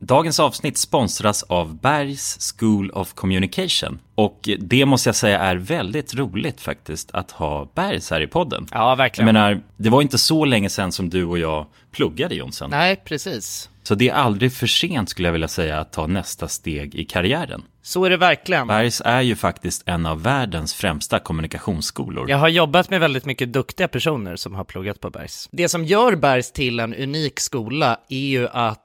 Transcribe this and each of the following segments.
Dagens avsnitt sponsras av Bergs School of Communication. Och det måste jag säga är väldigt roligt faktiskt att ha Bergs här i podden. Ja, verkligen. Jag menar, det var inte så länge sedan som du och jag pluggade Jonsson. Nej, precis. Så det är aldrig för sent skulle jag vilja säga att ta nästa steg i karriären. Så är det verkligen. Bergs är ju faktiskt en av världens främsta kommunikationsskolor. Jag har jobbat med väldigt mycket duktiga personer som har pluggat på Bergs. Det som gör Bergs till en unik skola är ju att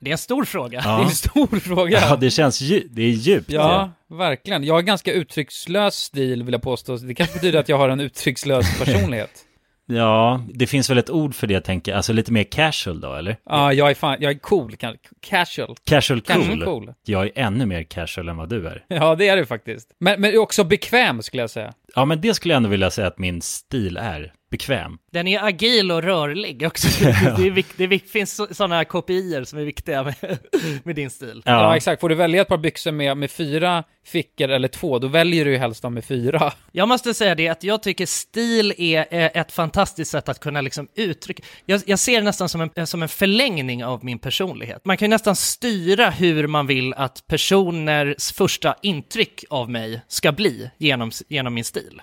Det är en stor fråga. Det är en stor fråga. Ja, det känns dju- det är djupt. Ja, verkligen. Jag har ganska uttryckslös stil vill jag påstå. Det kanske betyder att jag har en uttryckslös personlighet. ja, det finns väl ett ord för det jag tänker, alltså lite mer casual då eller? Ja, jag är fan, jag är cool, kan- casual. Casual cool. Casual cool. Jag är ännu mer casual än vad du är. Ja, det är du faktiskt. Men, men också bekväm skulle jag säga. Ja, men det skulle jag ändå vilja säga att min stil är. Bekväm. Den är agil och rörlig också. Det, är vik- det är vik- finns sådana kopior som är viktiga med, med din stil. Ja. Ja, exakt. Får du välja ett par byxor med, med fyra fickor eller två, då väljer du ju helst de med fyra. Jag måste säga det att jag tycker stil är eh, ett fantastiskt sätt att kunna liksom uttrycka. Jag, jag ser det nästan som en, eh, som en förlängning av min personlighet. Man kan ju nästan styra hur man vill att personers första intryck av mig ska bli genom, genom min stil.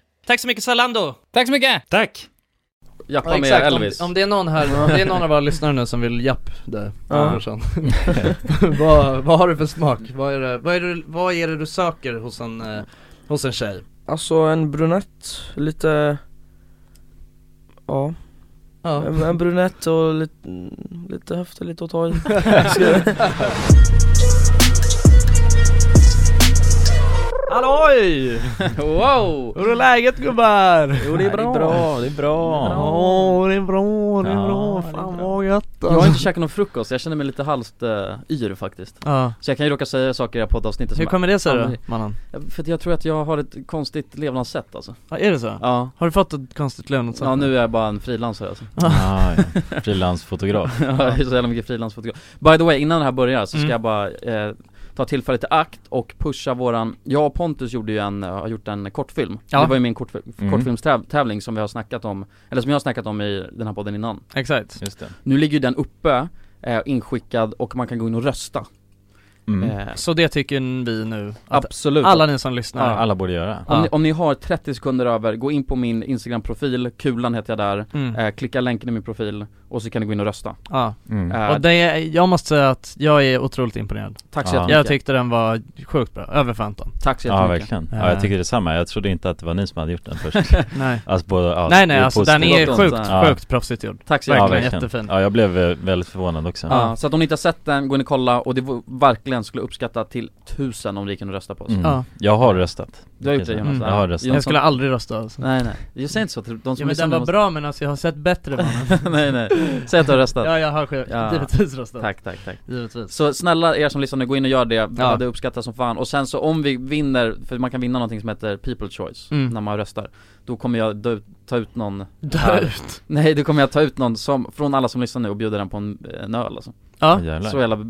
Tack så mycket Zalando! Tack så mycket! tack! Jappa med exakt, Elvis. Om, om det är någon här, om det är någon av våra lyssnare nu som vill japp det, brorsan. vad, vad har du för smak? Vad är det, vad är det, vad är det du söker hos en, eh, hos en tjej? Alltså en brunett, lite Ja, Ja. en, en brunett och lite, mm, lite höfter, lite att ta i Halloj! Wow! Hur är läget gubbar? Jo det är bra, det är bra. Ja det är bra, det är Ja, bra, fan vad gött Jag har inte käkat någon frukost, jag känner mig lite halvt eh, yr faktiskt Ja. Så jag kan ju råka säga saker i det här poddavsnittet som Hur kommer det sig då, aldrig- mannen? Ja, För att jag tror att jag har ett konstigt levnadssätt alltså Ja, är det så? Ja Har du fått ett konstigt levnadssätt? Ja nu är jag bara en frilansare alltså Ah, ja. Frilansfotograf. Ja, jag är så jävla mycket frilansfotograf By the way, innan det här börjar så ska Mm. jag bara eh, ta tillfället i akt och pusha våran Jag och Pontus gjorde ju en, eh, har gjort en kortfilm Ja. Det var ju min kortfil- Mm. kortfilmstävling som vi har snackat om Eller som jag har snackat om i den här podden innan Exakt Just det. Nu ligger ju den uppe, eh, inskickad och man kan gå in och rösta Eh, Så det tycker vi nu, att Absolut alla ni som lyssnar Ja. om, ni, om ni har 30 sekunder över, gå in på min Instagram-profil, Kulan heter jag där Mm. eh, Klicka länken i min profil och så kan ni gå in och rösta Ja, Mm. Eh, och det, är- jag måste säga att jag är otroligt imponerad Tack så Ja. jättemycket. Jag tyckte den var sjukt bra, över förväntan Tack så Ja verkligen. Ja, jag tycker detsamma. Jag trodde inte att det var ni som hade gjort den först. Nej. Alltså, både, ja, Nej, nej, det alltså, den positivt. är sjukt, sjukt proffsigt gjord. Tack så Ja, jättemycket. verkligen. Jättefin. Mm. Ja, jag blev eh, väldigt förvånad också. Ja, så att om ni inte har sett den, gå in och kolla och det vore- verkligen skulle uppskatta till tusen om ni gick in och röstade på oss Mm. Jag har röstat. Du har gjort det Jonas? Mm. Ja. Jag har röstat. Jonas- Jag skulle aldrig rösta alltså. Nej nej, jag säger inte så till de som ja, men lyssnar den nu var måste- bra men alltså jag har sett bättre mannen Nej nej, säg att du har röstat Ja jag har själv, givetvis röstat Tack tack tack Givetvis Så snälla er som lyssnar nu, gå in och gör det, ja. det uppskattas som fan och sen så om vi vinner, för man kan vinna någonting som heter people choice Mm. när man röstar Då kommer jag dö, ta ut någon Dö här. ut? Nej då kommer jag ta ut någon som, från alla som lyssnar nu och bjuda den på en, en öl alltså Ja. Åh, jävlar. Så jävla, eh,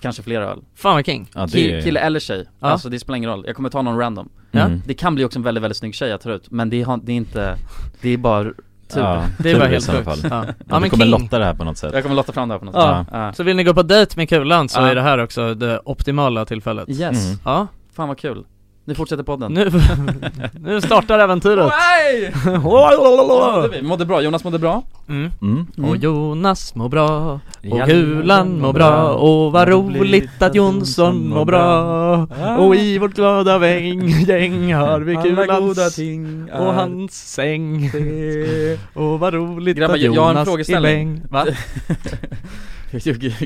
kanske flera öl Fan vad king. Ja, det Kill, är- Kille eller tjej, Ja. alltså det spelar ingen roll, jag kommer ta någon random Ja. Mm. Det kan bli också en väldigt väldigt snygg tjej jag tar ut, men det, har, det är inte, det är bara typ. tur Ja, Det är tur bara i helt sådana sjukt. fall. Ja. Ja, Ja, du men kommer King- lotta det här på något sätt. Jag kommer lotta fram det här på något ja. sätt Ja. Så vill ni gå på dejt med Kulan så Ja. är det här också det optimala tillfället Yes. Mm. Ja Fan vad kul. Nu fortsätter podden. Nu, nu startar äventyret! Mådde vi? Mådde bra, Jonas mådde bra. Mm. Mm. Och Jonas mår bra, och Ja, Gulan mår bra, och vad roligt att Mm, Jonsson mår bra Och i vårt glada väng, gäng har vi Ah. Alla goda Kulans ting är och hans säng Och vad roligt Grabbar, att jag, jag har en Jonas är frågeställning. bäng Va?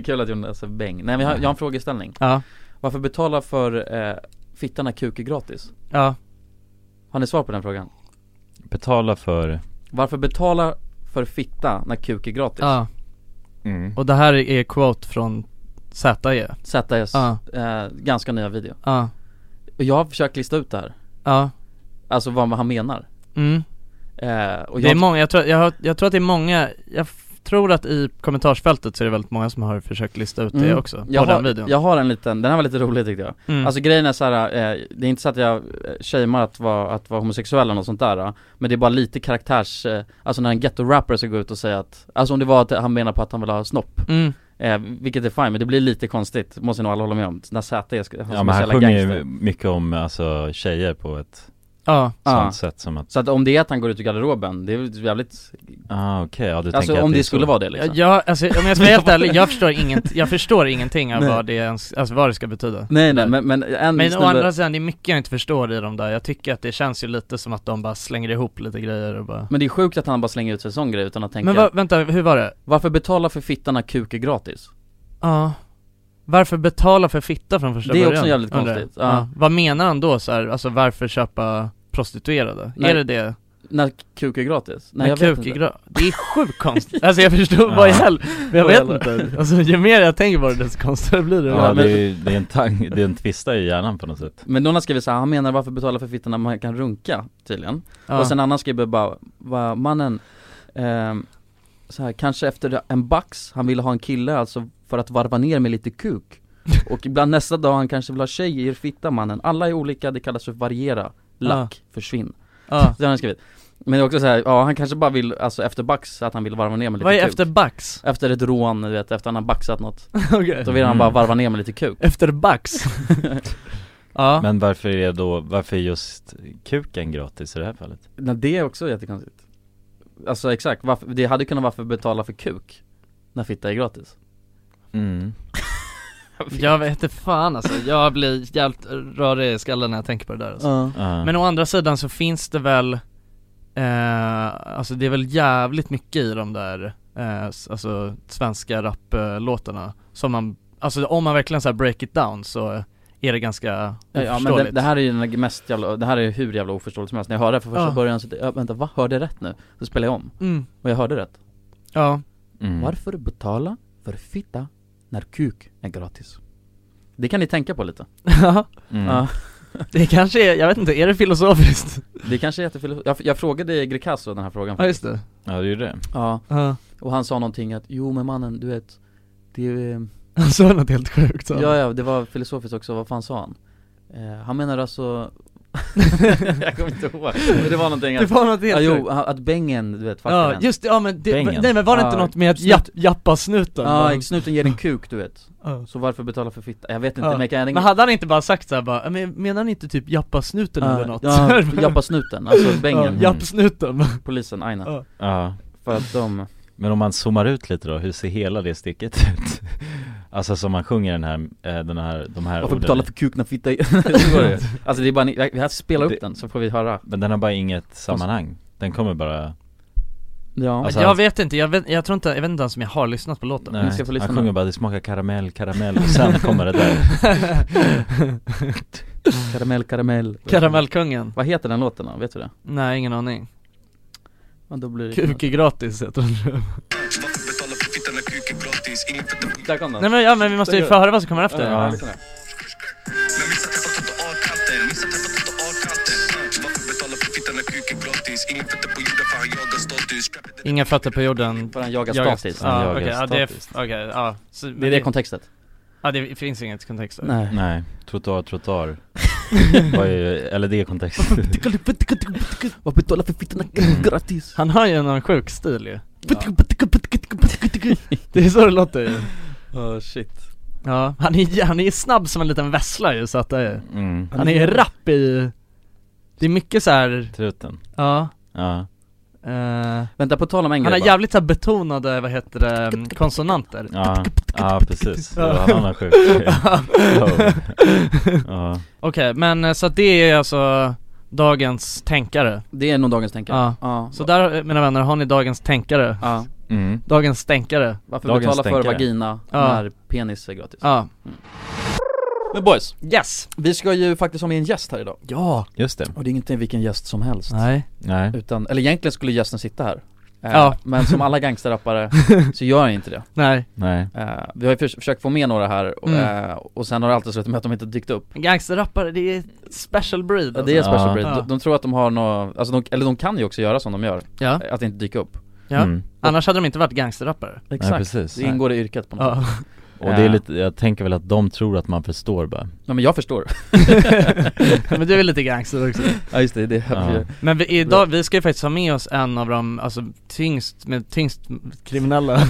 Kul att Jonas är bäng. Nej men jag har, jag har en frågeställning. Ja. Varför betala för eh, fittan när kuk är gratis? Ja Har ni svar på den frågan? Betala för... Varför betala för fitta när kuk är gratis? Ja Och det här är quote från ZE ZS, Ja. eh, ganska nya video. Ja. Och jag har försökt lista ut det här. Ja. Alltså vad han menar. Mm. Eh, och Det är jag, många, jag tror, jag, har- jag tror att det är många, jag f- tror att i kommentarsfältet så är det väldigt många som har försökt lista ut det Mm. också, på jag har, den videon Jag har en liten, den här var lite rolig tyckte jag Mm. Alltså grejen är så här, eh, det är inte så att jag eh, shamear att vara, att vara homosexuell eller något sånt där eh, Men det är bara lite karaktärs, eh, alltså när en ghetto-rapper ska gå ut och säga att Alltså om det var att han menar på att han vill ha snopp Mm. eh, Vilket är fine, men det blir lite konstigt, måste nog alla hålla med om När Z är, ska- Ja som men är han så jävla sjunger gangster. ju mycket om alltså tjejer på ett Ja. sånt Ja. sätt som att... Så att om det är att han går ut ur garderoben, det är väl jävligt Ah okej, ja du Alltså tänker om att det, är skulle så. vara det liksom Ja, alltså om jag ska vara helt ärlig, jag förstår, inget, jag förstår ingenting av Nej. vad det ens, alltså vad det ska betyda Nej nej men, men en Men å snubbe- andra sidan, det är mycket jag inte förstår i de där, jag tycker att det känns ju lite som att de bara slänger ihop lite grejer och bara Men det är sjukt att han bara slänger ut sig en sån grej utan att tänka Men va, vänta, hur var det? Varför betala för fittan när kuk är gratis? Ja Varför betala för fitta från första Det är början? också jävligt undrar jag? konstigt, Ja. ja. Vad menar han då så här, alltså varför köpa prostituerade? Nej. Är det det? När kuk är gratis? Nej, Nej, jag kuk vet är inte. gra- det är sjukt konstigt, alltså jag förstår, vad i Ja. helvete, jag Vad i vet helvete. inte Alltså ju mer jag tänker på det desto konstigare blir det Ja det är, ju- det är en tang, det är en twista i hjärnan på något sätt Men någon har skrivit såhär, han menar varför betala för fittan när man kan runka tydligen Ja. Och sen en annan skriver bara, va, mannen, ehm, så här, kanske efter en bax, han ville ha en kille alltså för att varva ner med lite kuk Och ibland nästa dag han kanske vill ha tjej i er fitta mannen, alla är olika, det kallas för variera, lack, försvinn Ja. Det har han skrivit men det är också så här, ja han kanske bara vill, alltså efter bax, att han vill varva ner med lite Vad är kuk. efter bax? Efter ett rån, du vet, efter han har baxat något Okej. Då vill han Mm. bara varva ner med lite kuk Efter bax? Ja Men varför är då, varför är just kuken gratis i det här fallet? Nej, det är också jättekonstigt Alltså exakt, varför, det hade kunnat varför betala för kuk när fitta är gratis Mm Jag vet inte fan alltså, jag blir jävligt rörig i skallen när jag tänker på det där alltså. Ja. Ja. Men å andra sidan så finns det väl, eh, alltså det är väl jävligt mycket i de där, eh, s- alltså svenska rapplåtarna som man, alltså om man verkligen så här break it down så är det ganska Ja, ja men det, det här är ju den mest jävla, det här är ju hur jävla oförståeligt som helst När jag hörde det från första Ja. början så, jag, vänta va, hörde jag rätt nu? Så spelade jag om Mm. Mm. och jag hörde rätt Ja Varför betala för fitta när kuk är gratis. Det kan ni tänka på lite. Mm. Ja. Det kanske är, jag vet inte, är det filosofiskt? Det kanske är jättefilosofiskt. Jag, jag frågade Greekazo den här frågan Ja, just det. Ja du gjorde det? Ja. Ja. Och han sa någonting att, jo men mannen, du vet, det är... Han Alltså, sa något helt sjukt, sa han. Ja, ja, det var filosofiskt också, vad fan sa han? Eh, han menar alltså Jag kommer inte ihåg, men det var någonting Det var något helt ja, jo, sjukt. att att bängen, du vet, Ja, den. just det, ja men det, Bängen. nej men var det inte Ja, något med att snut- japp, jappa snuten? Ja, snuten ger en kuk du vet Ja. Så varför betala för fitta? Jag vet inte, Ja. men jag kan Men hade han inte bara sagt såhär bara, men menar ni inte typ jappa snuten Ja, eller något? ja, jappa snuten, alltså bängen. Ja, japp snuten Polisen, aina Ja. Ja. För att de... Men om man zoomar ut lite då, hur ser hela det sticket ut? Alltså som man sjunger den här, eh, den här, de här Varför orden. betala för kuk när fitta är... Så var det ju. Alltså det är bara, ni- jag, jag spelar upp Det- den så får vi höra Men den har bara inget sammanhang, den kommer bara Ja, Alltså, jag han- vet inte, jag, vet, jag tror inte, jag vet inte ens om jag har lyssnat på låten Nej, han sjunger bara 'Det smakar karamell, karamell' och sen kommer det där Karamell, karamell Karamellkungen Vad heter den låten då? Vet du det? Nej, ingen aning Ja, då blir det- Kuk är gratis heter den Där kom den Nej men ja, men vi måste ju få höra vad som kommer efter Ja, lyssna. Inga fötter på jorden Bara han jagar status. Han Ja, jagar okej, ja, det är, status. okej, ja Så- men Det är det kontextet Ja, det finns inget kontext där. Nej. Nej, trottoar, trottoar Var ju, eller det är kontexten Vad betalar för fittorna gratis? Han har ju en sjuk stil ju Det är så det låter ju Oh shit Ja, han är, han är snabb som en liten vessla ju så att det är Mm. Han är rapp i Det är mycket så här. Truten ja Ja, eh, Vänta, på tal om en Han har grej bara. jävligt så här betonade, vad heter det, mm, konsonanter ja, ja precis, det var en annan sjuk Ja. Ja, Okej, men eh, så att det är alltså dagens tänkare Det är nog dagens tänkare Ja, Ja. så där eh, mina vänner har ni dagens tänkare Ja. mm. Dagens tänkare Varför Dagens betala för tänkare. vagina Ja. när penis är gratis? Ja, Men boys, yes! vi ska ju faktiskt ha med en gäst här idag Ja! just det Och det är inte vilken gäst som helst Nej Nej, Utan, eller egentligen skulle gästen sitta här Eh, Ja. Men som alla gangsterrappare så gör han inte det Nej, nej, Eh, Vi har ju förs- försökt få med några här och, Mm. eh, och sen har det alltid slutat med att de inte dykt upp gangsterrappare det är special breed Ja, Det är special Ja. breed, Ja. de, de tror att de har nå, alltså de, eller de kan ju också göra som de gör, Ja, eh, att inte dyka upp ja. Mm. annars hade de inte varit gangsterrappare nej precis Det ingår i yrket på något sätt Ja, Och det är lite, jag tänker väl att de tror att man förstår bara Ja men jag förstår men du är lite gangster också Ja just det, det Ja. ja. Men vi, idag, vi ska ju faktiskt ha med oss en av de, alltså tyngst, med tyngst kriminella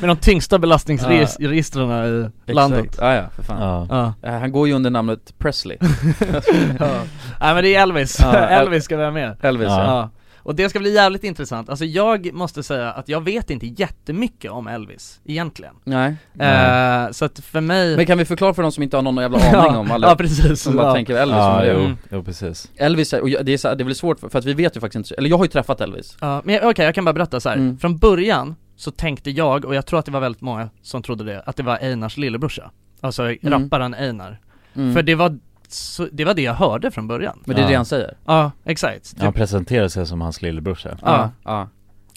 Med de tyngsta belastningsregistren i landet Ja, ja, för fan Ja, Ja, Eh, Han går ju under namnet Presley, ja. Nej men det är Elvis, Ja, El- Elvis ska vara med Elvis Ja. ja. Ja, och det ska bli jävligt intressant, alltså jag måste säga att jag vet inte jättemycket om Elvis, egentligen Nej, Nej. eh, Så att för mig men kan vi förklara för de som inte har någon jävla aning ja, om alla ja precis, som bara ja. tänker Elvis som ja det. jo, Mm. jo precis Elvis, är- och jag- det är, så här, det är väl svårt för, för att vi vet ju faktiskt inte, så- eller jag har ju träffat Elvis Ja, men jag- okej jag kan bara berätta så här. Mm. från början så tänkte jag, och jag tror att det var väldigt många som trodde det, att det var Einars lillebrorsa Alltså rapparen Einar, Mm. för det var, så, det var det jag hörde från början Men det är det Ja. han säger Ja, exakt Han presenterar sig som hans lillebrorsa Ja. ja,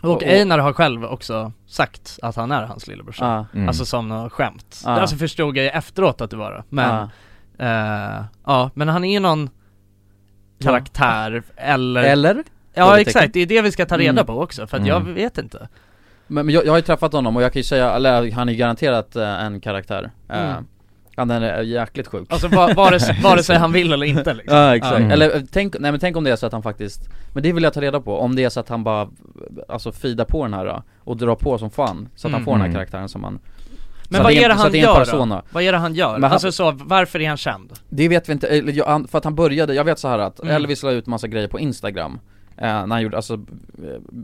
Och Einar har själv också sagt att han är hans lillebrorsa ja. Mm. Alltså som något skämt, Ja. alltså förstod jag ju efteråt att det var det, men ja. Eh, ja, men han är ju någon karaktär eller... Eller? Ja Frågetecken. exakt, det är det vi ska ta reda Mm. på också för att Mm. jag vet inte Men, men jag, jag har ju träffat honom och jag kan ju säga, eller han är ju garanterat eh, en karaktär Eh, Mm. Han är eh, jäkligt sjuk Alltså va- vare, sig, vare sig han vill eller inte liksom. Ja exakt, Mm. eller eh, tänk, nej men tänk om det är så att han faktiskt Men det vill jag ta reda på, om det är så att han bara Alltså feedar på den här då, och drar på som fan Så att han Mm. får den här Mm. karaktären som han Men så vad att är det en- så han att det är en gör då? persona. Vad är det han gör? Men han- Alltså så, varför är han känd? Det vet vi inte, eh, eller jag, han, för att han började, jag vet så här att Mm. Elvis la ut massa grejer på Instagram eh, När han gjorde, alltså, eh,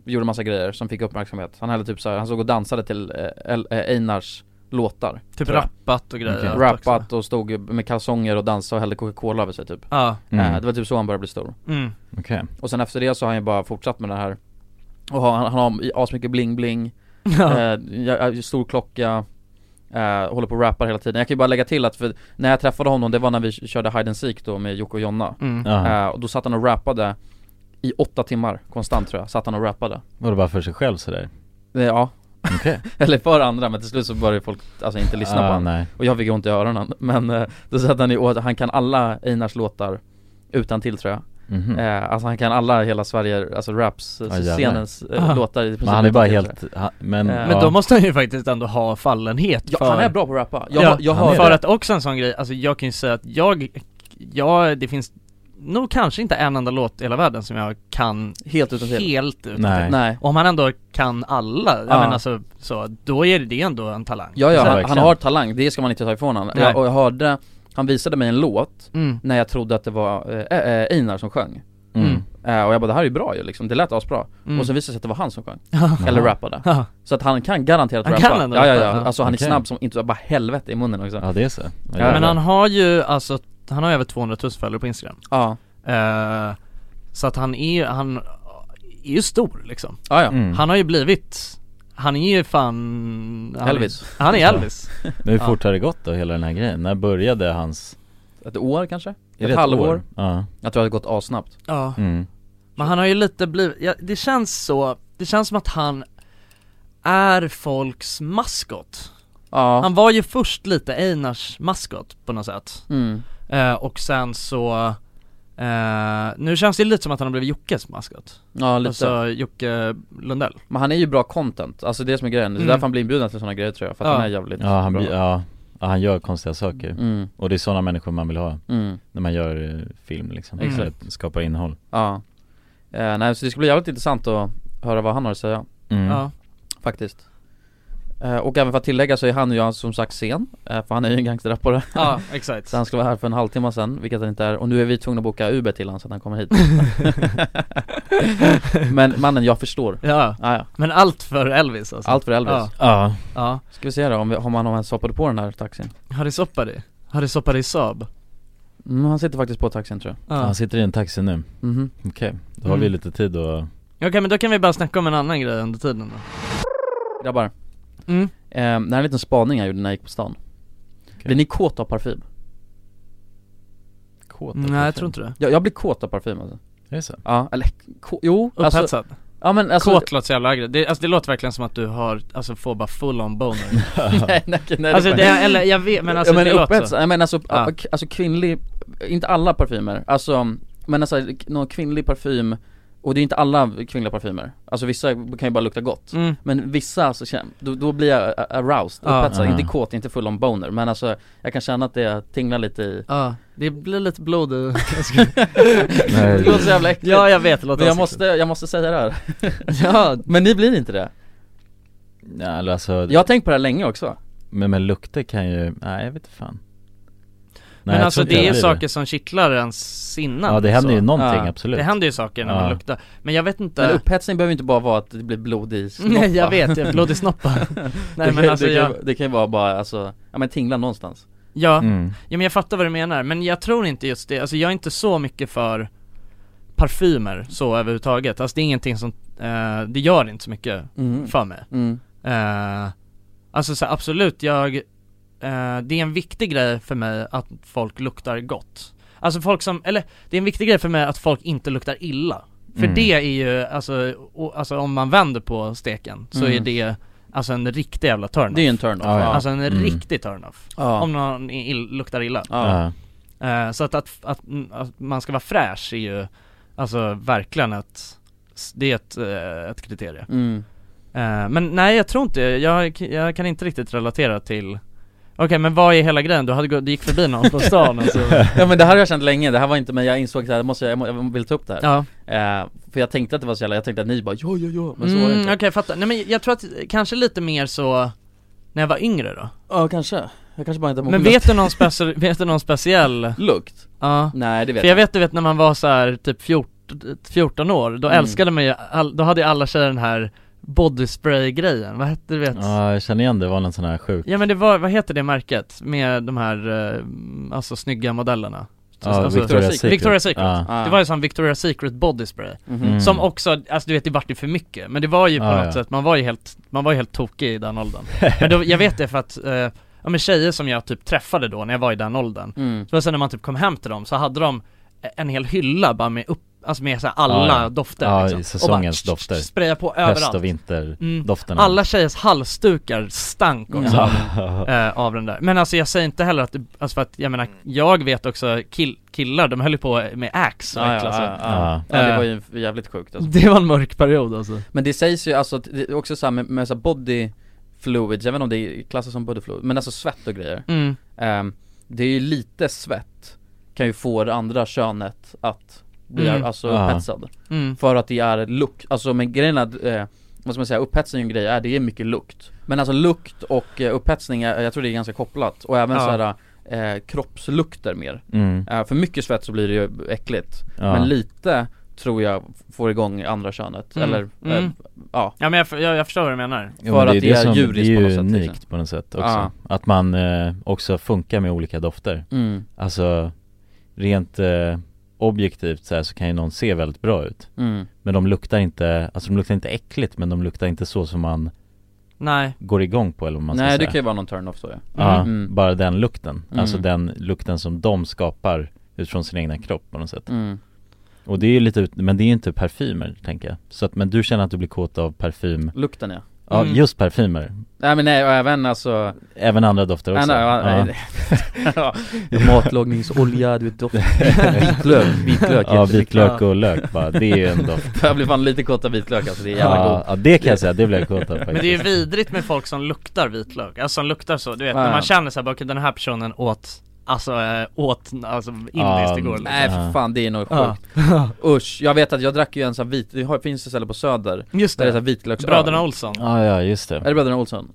gjorde massa grejer som fick uppmärksamhet Han hade typ så här, han såg och dansade till eh, El, eh, Einars låtar Typ tror jag. rappat och grejer liksom. Okej. Rappat och stod med kalsonger och dansade och hällde Coca-Cola över sig typ Ja, eh, mm. Det var typ så han började bli stor mm. Okej, Och sen efter det så har han ju bara fortsatt med det här Och har, han, han har asmycket bling-bling, Ja. eh, ja, ja, stor klocka eh, Håller på och rappar hela tiden Jag kan ju bara lägga till att för när jag träffade honom, det var när vi körde Hide and Seek då med Jocke och Jonna Mm. ja, Eh, och då satt han och rappade i åtta timmar konstant tror jag, satt han och rappade var det bara för sig själv sådär? Eh, Ja, Okej. Eller ett par andra men till slut så började folk alltså inte lyssna Ah, på honom nej. Och jag fick ont i öronen Men eh, då satt han i och han kan alla Einars låtar utan till tror jag Mhm. eh, Alltså han kan alla hela Sverige, alltså raps, eh, Ja, jävlar. scenens eh, Ah. Aha. låtar i Men princip han är utan bara till, helt- tror jag. han- men- Men Men då måste han ju faktiskt ändå ha fallenhet Ja, för... han är bra på att rappa. Jag- ja, jag hörde- För att också en sån grej, alltså jag kan ju säga att jag, jag, det finns nog kanske inte en enda låt i hela världen som jag kan Helt utan till. Helt utan Nej. till. Nej. Om han ändå kan alla, jag Ja. men alltså så, då är det ändå en talang Ja, Så ja här- han, han har talang, det ska man inte ta ifrån honom. Nej. Jag, och jag hörde, han visade mig en låt Mm. när jag trodde att det var eh, eh, Einar som sjöng Mm. Eh, och jag bara det här är ju bra ju liksom, det lät asbra. Mm. Och så visade det sig att det var han som sjöng. Ja. Eller rappade. Ja. Så att han kan garanterat Han rappa. kan ändå ja, ja, ja. rappa, ja. Alltså han Okej. är snabb som inte, bara helvete i munnen också. Ja det är så. Ja, men han har ju alltså, han har över 200 000 följare på Instagram Ja eh, Så att han är han är ju stor liksom Ja, ja. Mm. Han har ju blivit, han är ju fan han är- Elvis. Han är Elvis Men hur Ja. fort har det gått då, hela den här grejen? När började hans... Ett år kanske? det Ett, ett halvår? år? Ja. Jag tror det hade gått assnabbt. Ja Mm. Men han har ju lite blivit, ja, det känns så, det känns som att han är folks maskot Ja. Han var ju först lite Einars maskot på något sätt Mm. eh, Och sen så, eh, nu känns det lite som att han har blivit Jockes maskot Ja, lite. Alltså Jocke Lundell Men han är ju bra content, alltså det är det som är grejen. Det är Mm. därför han blir inbjuden till sådana grejer tror jag, för att Ja. han är jävligt Ja han, bra. blir- ja, ja, han gör konstiga saker. Mm. Och det är sådana människor man vill ha. Mm. När man gör eh, film liksom. Exakt. Eller skapar innehåll. Ja eh, Nej så det ska bli jävligt intressant att höra vad han har att säga Mm. Ja. Faktiskt eh, Och även för att tillägga så är han ju alltså som sagt sen eh, För han är ju en gangsterrappare Ja, exakt. Så han skulle vara här för en halvtimme sen, vilket han inte är Och nu är vi tvungna att boka Uber till honom så att han kommer hit Men mannen, jag förstår Ja, ja, ja. men allt för Elvis alltså Allt för Elvis Ja, ja. ja. Ska vi se då om, vi, om han ens hoppade på den här taxin Har det soppat dig? Har det soppat dig Saab? mm, Han sitter faktiskt på taxin tror jag Ja. Han sitter i en taxi nu. Mhm. Okej, då har vi Mm. lite tid att... Okej men då kan vi bara snacka om en annan grej under tiden då Grabbar, Mm. eh, det här är en liten spaning jag gjorde när jag gick på stan Blir ni kåta av parfym? Kåt Nej, jag tror inte det. Jag, jag blir kåt av parfym alltså Är det så? Ja, eller k- jo alltså- Upphetsad? Ja men alltså Kåt låter så jävla aggressivt, det, alltså, det låter verkligen som att du har, alltså får bara full on boner nej, nej, nej, Alltså är- det, eller jag vet, men alltså ja, men det låter upphets, så Nej men alltså, Ja. k- alltså kvinnlig, inte alla parfymer, alltså men alltså någon kvinnlig parfym och det är inte alla kvinnliga parfymer, alltså vissa kan ju bara lukta gott Mm. Men vissa, alltså, känn- då, då blir jag a- aroused, Ja. upphetsad, Ja. inte kåt, inte full on boner Men alltså, jag kan känna att det tinglar lite i Ja, det blir lite blod i... Det låter så jävla äckligt Ja jag vet, det låter Men jag så äckligt. måste, jag måste säga det här Ja. Men ni blir inte det? Nej, eller alltså... Jag har tänkt på det här länge också Men, men lukter kan ju... Nej, jag vet inte fan. Nej, Men jag alltså tror inte det jag är blir saker som kittlar ens sinnen Ja, det händer så. ju någonting, Ja. absolut. Det händer ju saker när man Ja. luktar, men jag vet inte Men upphetsning behöver inte bara vara att det blir blod i snoppen Nej jag vet, jag blod i snoppar det, Nej kan, men alltså det, kan, jag, det kan ju vara bara alltså, ja men tingla någonstans ja, Mm. ja men jag fattar vad du menar, men jag tror inte just det, alltså jag är inte så mycket för parfymer så överhuvudtaget, alltså det är ingenting som, eh, det gör inte så mycket Mm. för mig Mm. eh, Alltså så här, absolut, jag, eh, det är en viktig grej för mig att folk luktar gott Alltså folk som, eller det är en viktig grej för mig att folk inte luktar illa För Mm. det är ju, alltså, o, alltså om man vänder på steken så Mm. är det Alltså en riktig jävla turn-off Det är en turn-off, Ja, ja. Alltså en Mm. riktig turn-off Ja. Om någon i- ill, luktar illa Ja. Eh, Så att, att, att, mm, att man ska vara fräsch är ju Alltså verkligen ett Det är ett, eh, ett kriterie Mm. Eh, Men nej jag tror inte, jag, jag kan inte riktigt relatera till Okej men vad är hela grejen? Du, hade, gå- du gick förbi någon på stan och så Ja men det här har jag känt länge, det här var inte men jag insåg att jag måste, jag, må, jag vill ta upp det här Ja. eh, För jag tänkte att det var så jävla, jag tänkte att ni bara ja ja ja, men så var det Mm, inte Okej, fattar. Nej men jag tror att kanske lite mer så när jag var yngre då Ja kanske, jag kanske bara inte har Men mognat. vet du någon, speci- vet du någon speciell Lukt? Ja Nej, det vet För jag jag vet du vet när man var så här typ 14, 14 år, då Mm. älskade man ju, all, då hade ju alla tjejer den här bodyspray-grejen, vad hette det vet? Ja, jag känner igen det. Det var någon sån här sjuk... Ja men det var, vad heter det märket med de här, eh, alltså snygga modellerna? Ja, Victoria's Secret. Victoria's Secret. Ja. Det var ju sån Victoria's Secret body spray Mhm. Som också, alltså du vet det vart ju för mycket Men det var ju på Ja, något ja. sätt, man var ju helt, man var ju helt tokig i den åldern Men då, jag vet det för att, eh, ja men tjejer som jag typ träffade då när jag var i den åldern Mm. Så sen när man typ kom hem till dem så hade de en hel hylla bara med upp, alltså med så här alla Ja, ja. dofter Ja, liksom. säsongens och bara, dofter. Spraya på Höst- överallt Mm. och Mm. vinterdofterna. Alla tjejers halsdukar stank också Ja. av, eh, av den där Men alltså jag säger inte heller att, det- alltså för att jag menar Jag vet också kill, killar, de höll ju på med ax och Ja, ja, äckla sig. ja, ja. Ja, det var ju jävligt sjukt, alltså. Det var en mörk period alltså Men det sägs ju alltså, att det är också så här med, med så här body fluids, jag vet inte om det klassas som body fluid, men alltså svett och grejer Mm. Ehm, Det är ju lite svett, kan ju få det andra könet att bli Mm. alltså Ja. upphetsad Mm. För att det är lukt, alltså men grejen är att, eh, vad ska man säga, upphetsning är en grej är, det är mycket lukt Men alltså lukt och eh, upphetsning, är, jag tror det är ganska kopplat, och även Ja. så här eh, kroppslukter mer Mm. Eh, För mycket svett så blir det ju äckligt, Ja. men lite tror jag får igång andra könet, Mm. eller eh, Mm. ja Ja men jag, f- jag, jag förstår vad du menar Jo, men det är som- Det är ju unikt på något sätt också. Ja. Att man eh, också funkar med olika dofter. Mm. Alltså rent eh, objektivt så, här, så kan ju någon se väldigt bra ut. Mm. Men de luktar inte, alltså de luktar inte äckligt men de luktar inte så som man Nej. går igång på eller vad man ska Nej det säga. kan ju vara någon turn-off så ja Ja, Mm. bara den lukten. Mm. Alltså den lukten som de skapar utifrån sin egna kropp på något sätt. Mm. Och det är ju lite, ut- men det är ju inte parfymer tänker jag. Så att, men du känner att du blir kåt av parfym? Lukten, ja. Ja, Mm. just parfymer. Nej men nej, och även alltså Även andra dofter också. Nej, nej, nej. Ja. Matlagningsolja, du vet doft Vitlök, vitlök Ja, jätteviktigt. vitlök och lök bara, det är ju en doft. Jag blir fan lite kåt av vitlök alltså, det är jävla ja, gott ja, det kan jag säga, det blev jag kåt av Men det är ju faktiskt. vidrigt med folk som luktar vitlök, alltså som luktar så, du vet Ja, när ja. man känner såhär, okej den här personen åt, alltså eh, åt, alltså indiskt igår liksom. Nej för fan det är nog Ja. sjukt Usch, jag vet att jag drack ju en sån här vit, det har- finns ett ställe på söder Just Där det är det. så här vitlöksöl Bröderna Olsson. Ja, ja, just det. Är det Bröderna Olsson?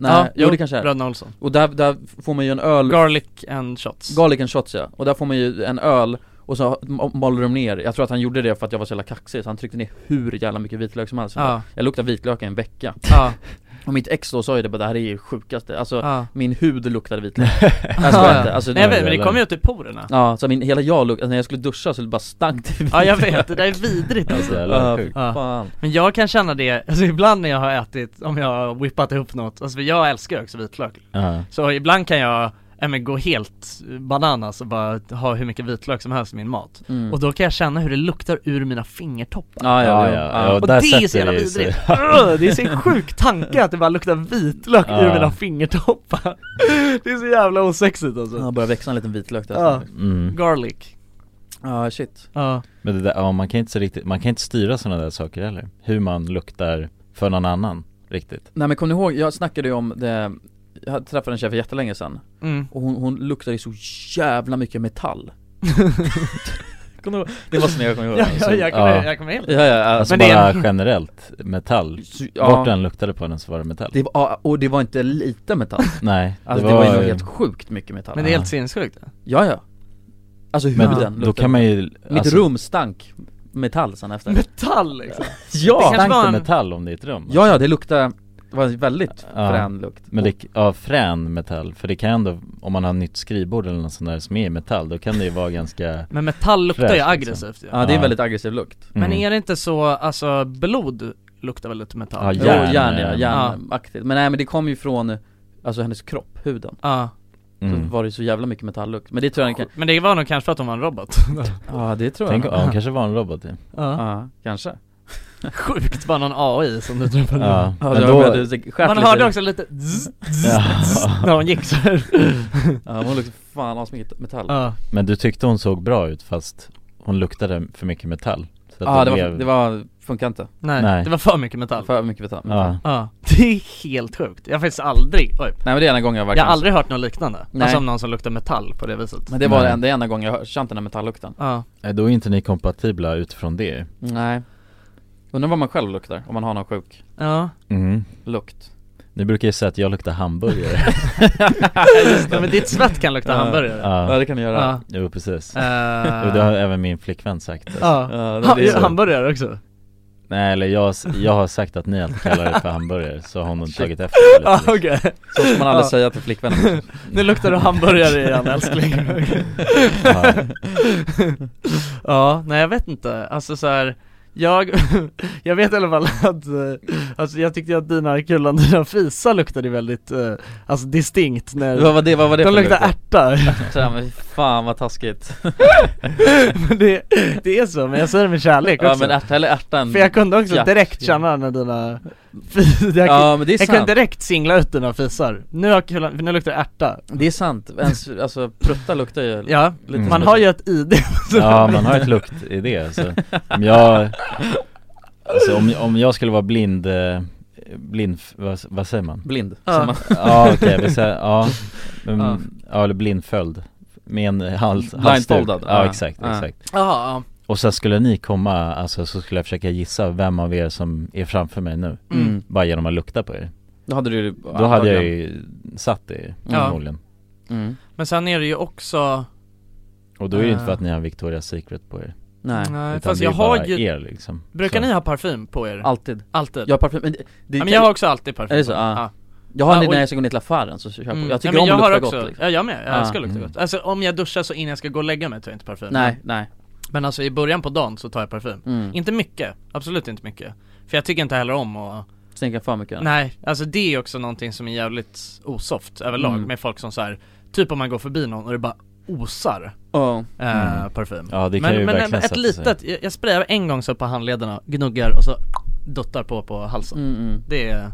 Nej, Ja, jo, jo, det kanske är Bröderna Olsson. Och där, där får man ju en öl Garlic and shots Garlic and shots ja, och där får man ju en öl och så ma- maler de ner, jag tror att han gjorde det för att jag var så jävla kaxig så han tryckte ner hur jävla mycket vitlök som helst Ja. Jag luktade vitlök i en vecka Ja. Och mitt ex då sa ju det bara det här är ju sjukaste, alltså Ja. min hud luktade vitlök Jag skojar inte, alltså, Nej, jag vet, men det kom ju ut i porerna. Ja, så min, hela jag luktade, när jag skulle duscha så bara stank det vitlök Ja jag vet, det där är vidrigt Alltså, jävlar, vad sjukt. Fan. Men jag kan känna det, alltså ibland när jag har ätit, om jag har whippat ihop något, alltså för jag älskar ju också vitlök Ja. Så ibland kan jag, ja, men gå helt bananas och bara ha hur mycket vitlök som helst i min mat Mm. Och då kan jag känna hur det luktar ur mina fingertoppar Ja, ja, ja, ja. Och Och det där är så sätter jävla det ju sig. vidrigt, Ugh, det är så en sjuk tanke att det bara luktar vitlök ur Ja. mina fingertoppar Det är så jävla osexigt alltså Ja, börjar växa en liten vitlök där Ja. Mm. Garlic Ja shit Ja Men det där, ja, man kan inte så riktigt, man kan inte styra sådana där saker heller. Hur man luktar för någon annan, riktigt. Nej men kom ni ihåg, jag snackade ju om det Jag träffade en tjej för jättelänge sedan Mm. Och hon, hon luktade ju så jävla mycket metall Kommer du ihåg? Det var så när jag kom ihåg Ja, ja, jag kommer- jag kommer ihåg. ja, ja, Alltså men det bara är- generellt, metall. ja. Vart den luktade på den så var det metall. det var, ja, och det var inte lite metall Nej, det Alltså det var, var- ju nog helt sjukt mycket metall Men det är helt sinnessjukt Ja ja Alltså Men huden då kan man ju- Mitt alltså- rum stank metall sen efter Metall liksom Ja! Det kanske var en... metall om det är ett rum. Ja ja, det luktade, det var en väldigt Ja. frän lukt Men det, ja, frän metall. För det kan ändå, om man har nytt skrivbord eller något sånt där som är i metall, då kan det ju vara ganska Men metall luktar ju fräscht, aggressivt ju. liksom. Mm. aggressiv lukt Men är det inte så, alltså blod luktar väl lite metall? Jo, järn, ja, järnaktigt Men nej men det kom ju från, alltså hennes kropp, huden Ja. Mm. Så var det så jävla mycket metalllukt, men det tror jag kan... Men det var nog kanske för att hon var en robot Ja det tror Tänk, jag ja, hon kanske var en robot ja. Ja, kanske Sjukt, bara någon AI som du träffade Ja, Ja, men det då- var med, du skär Man lite. hörde också lite zzz, zzz, zzz, när hon gick så här. Ja hon luktade fan asmycket metall Ja. Men du tyckte hon såg bra ut fast hon luktade för mycket metall? Så att Ja det var, det var, funkar inte Nej, Nej. det var för mycket metall För mycket metall Ja. Ja, det är helt sjukt. Jag har faktiskt aldrig, oj. Nej, men det är ena gången jag Jag verkligen- har aldrig hört något liknande, Nej. alltså om någon som luktar metall på det viset Men det var Nej. den, det enda gången jag hör- känt den där metalllukten Ja. Nej, Då är inte ni kompatibla utifrån det Nej Undrar vad man själv luktar, om man har någon sjuk Ja mm. Lukt Ni brukar ju säga att jag luktar hamburgare Ja, men ditt svett kan lukta hamburgare. Ja, det kan det göra. ja. Jo precis Eh. Jo, Det har även min flickvän sagt Ja, det- det är så. hamburgare också Nej eller jag, jag har sagt att ni alltid kallar det för hamburgare så har hon tagit efter det Ja, liksom. okej. Så ska man aldrig Ja. säga till flickvännen. Nu luktar du hamburgare igen älskling Ja. Ja, nej jag vet inte, alltså så här. Jag, jag vet i alla fall att, eh, alltså jag tyckte att dina Kullan dina Fisa luktade väldigt, eh, alltså distinkt när Vad var det, vad var det De för luktade lukt ärta Ärta, men fan vad taskigt Men det, det är så, men jag säger det med kärlek Ja, också men ärta eller ärtan, För jag kunde också jack. direkt känna när dina Fis- jag, Ja, men det är jag kunde sant. direkt singla ut dina fisar Nu har Kullan, nu luktar det ärta Det är sant, ens, alltså prutta luktar ju Ja, Mm. lite man som har ju ett ID Ja, man har ett luktidé alltså. Om jag, alltså om, om jag skulle vara blind, eh, blind, vad, vad säger man? Blind, ja. säger man. Ja okej, vi säger, ja, men, Ja. ja. eller blindföljd Med en hals, Blindfoldad. halsduk Ja Ja. exakt, Ja. exakt Jaha, ja. Och sen skulle ni komma, alltså så skulle jag försöka gissa vem av er som är framför mig nu Mm. Bara genom att lukta på er Då hade du Då hade jag ju satt det Ja. förmodligen Mm. Men sen är det ju också Och då är det inte Eh. för att ni har Victoria's Secret på er Nej. Nej, Utan fast det är jag har bara ju- er liksom Brukar ni ha parfym på er? Alltid Alltid? Jag har parfym, men, det, Ja, men jag har också alltid parfym Är det så? på mig. Ja. Ja. Jag har Ja, det och- när jag ska gå ner till affären så köper Mm. jag, jag tycker Nej, men om jag att har lukta också, gott liksom. ja, jag med, jag Ja. Mm. älskar att lukta gott Alltså om jag duschar så innan jag ska gå och lägga mig tar jag inte parfym Nej, nej Men alltså i början på dagen så tar jag parfym Mm. Inte mycket, absolut inte mycket För jag tycker inte heller om att Stänka för mycket Nej, alltså det är också någonting som är jävligt osoft överlag Mm. med folk som så här Typ om man går förbi någon och det bara osar Ja. eh, Mm. parfym Ja, det kan Men, ju men verkligen ett sätta sig. litet, jag, jag sprayar en gång så på handlederna, gnuggar och så duttar på på halsen Mm, mm. Det är,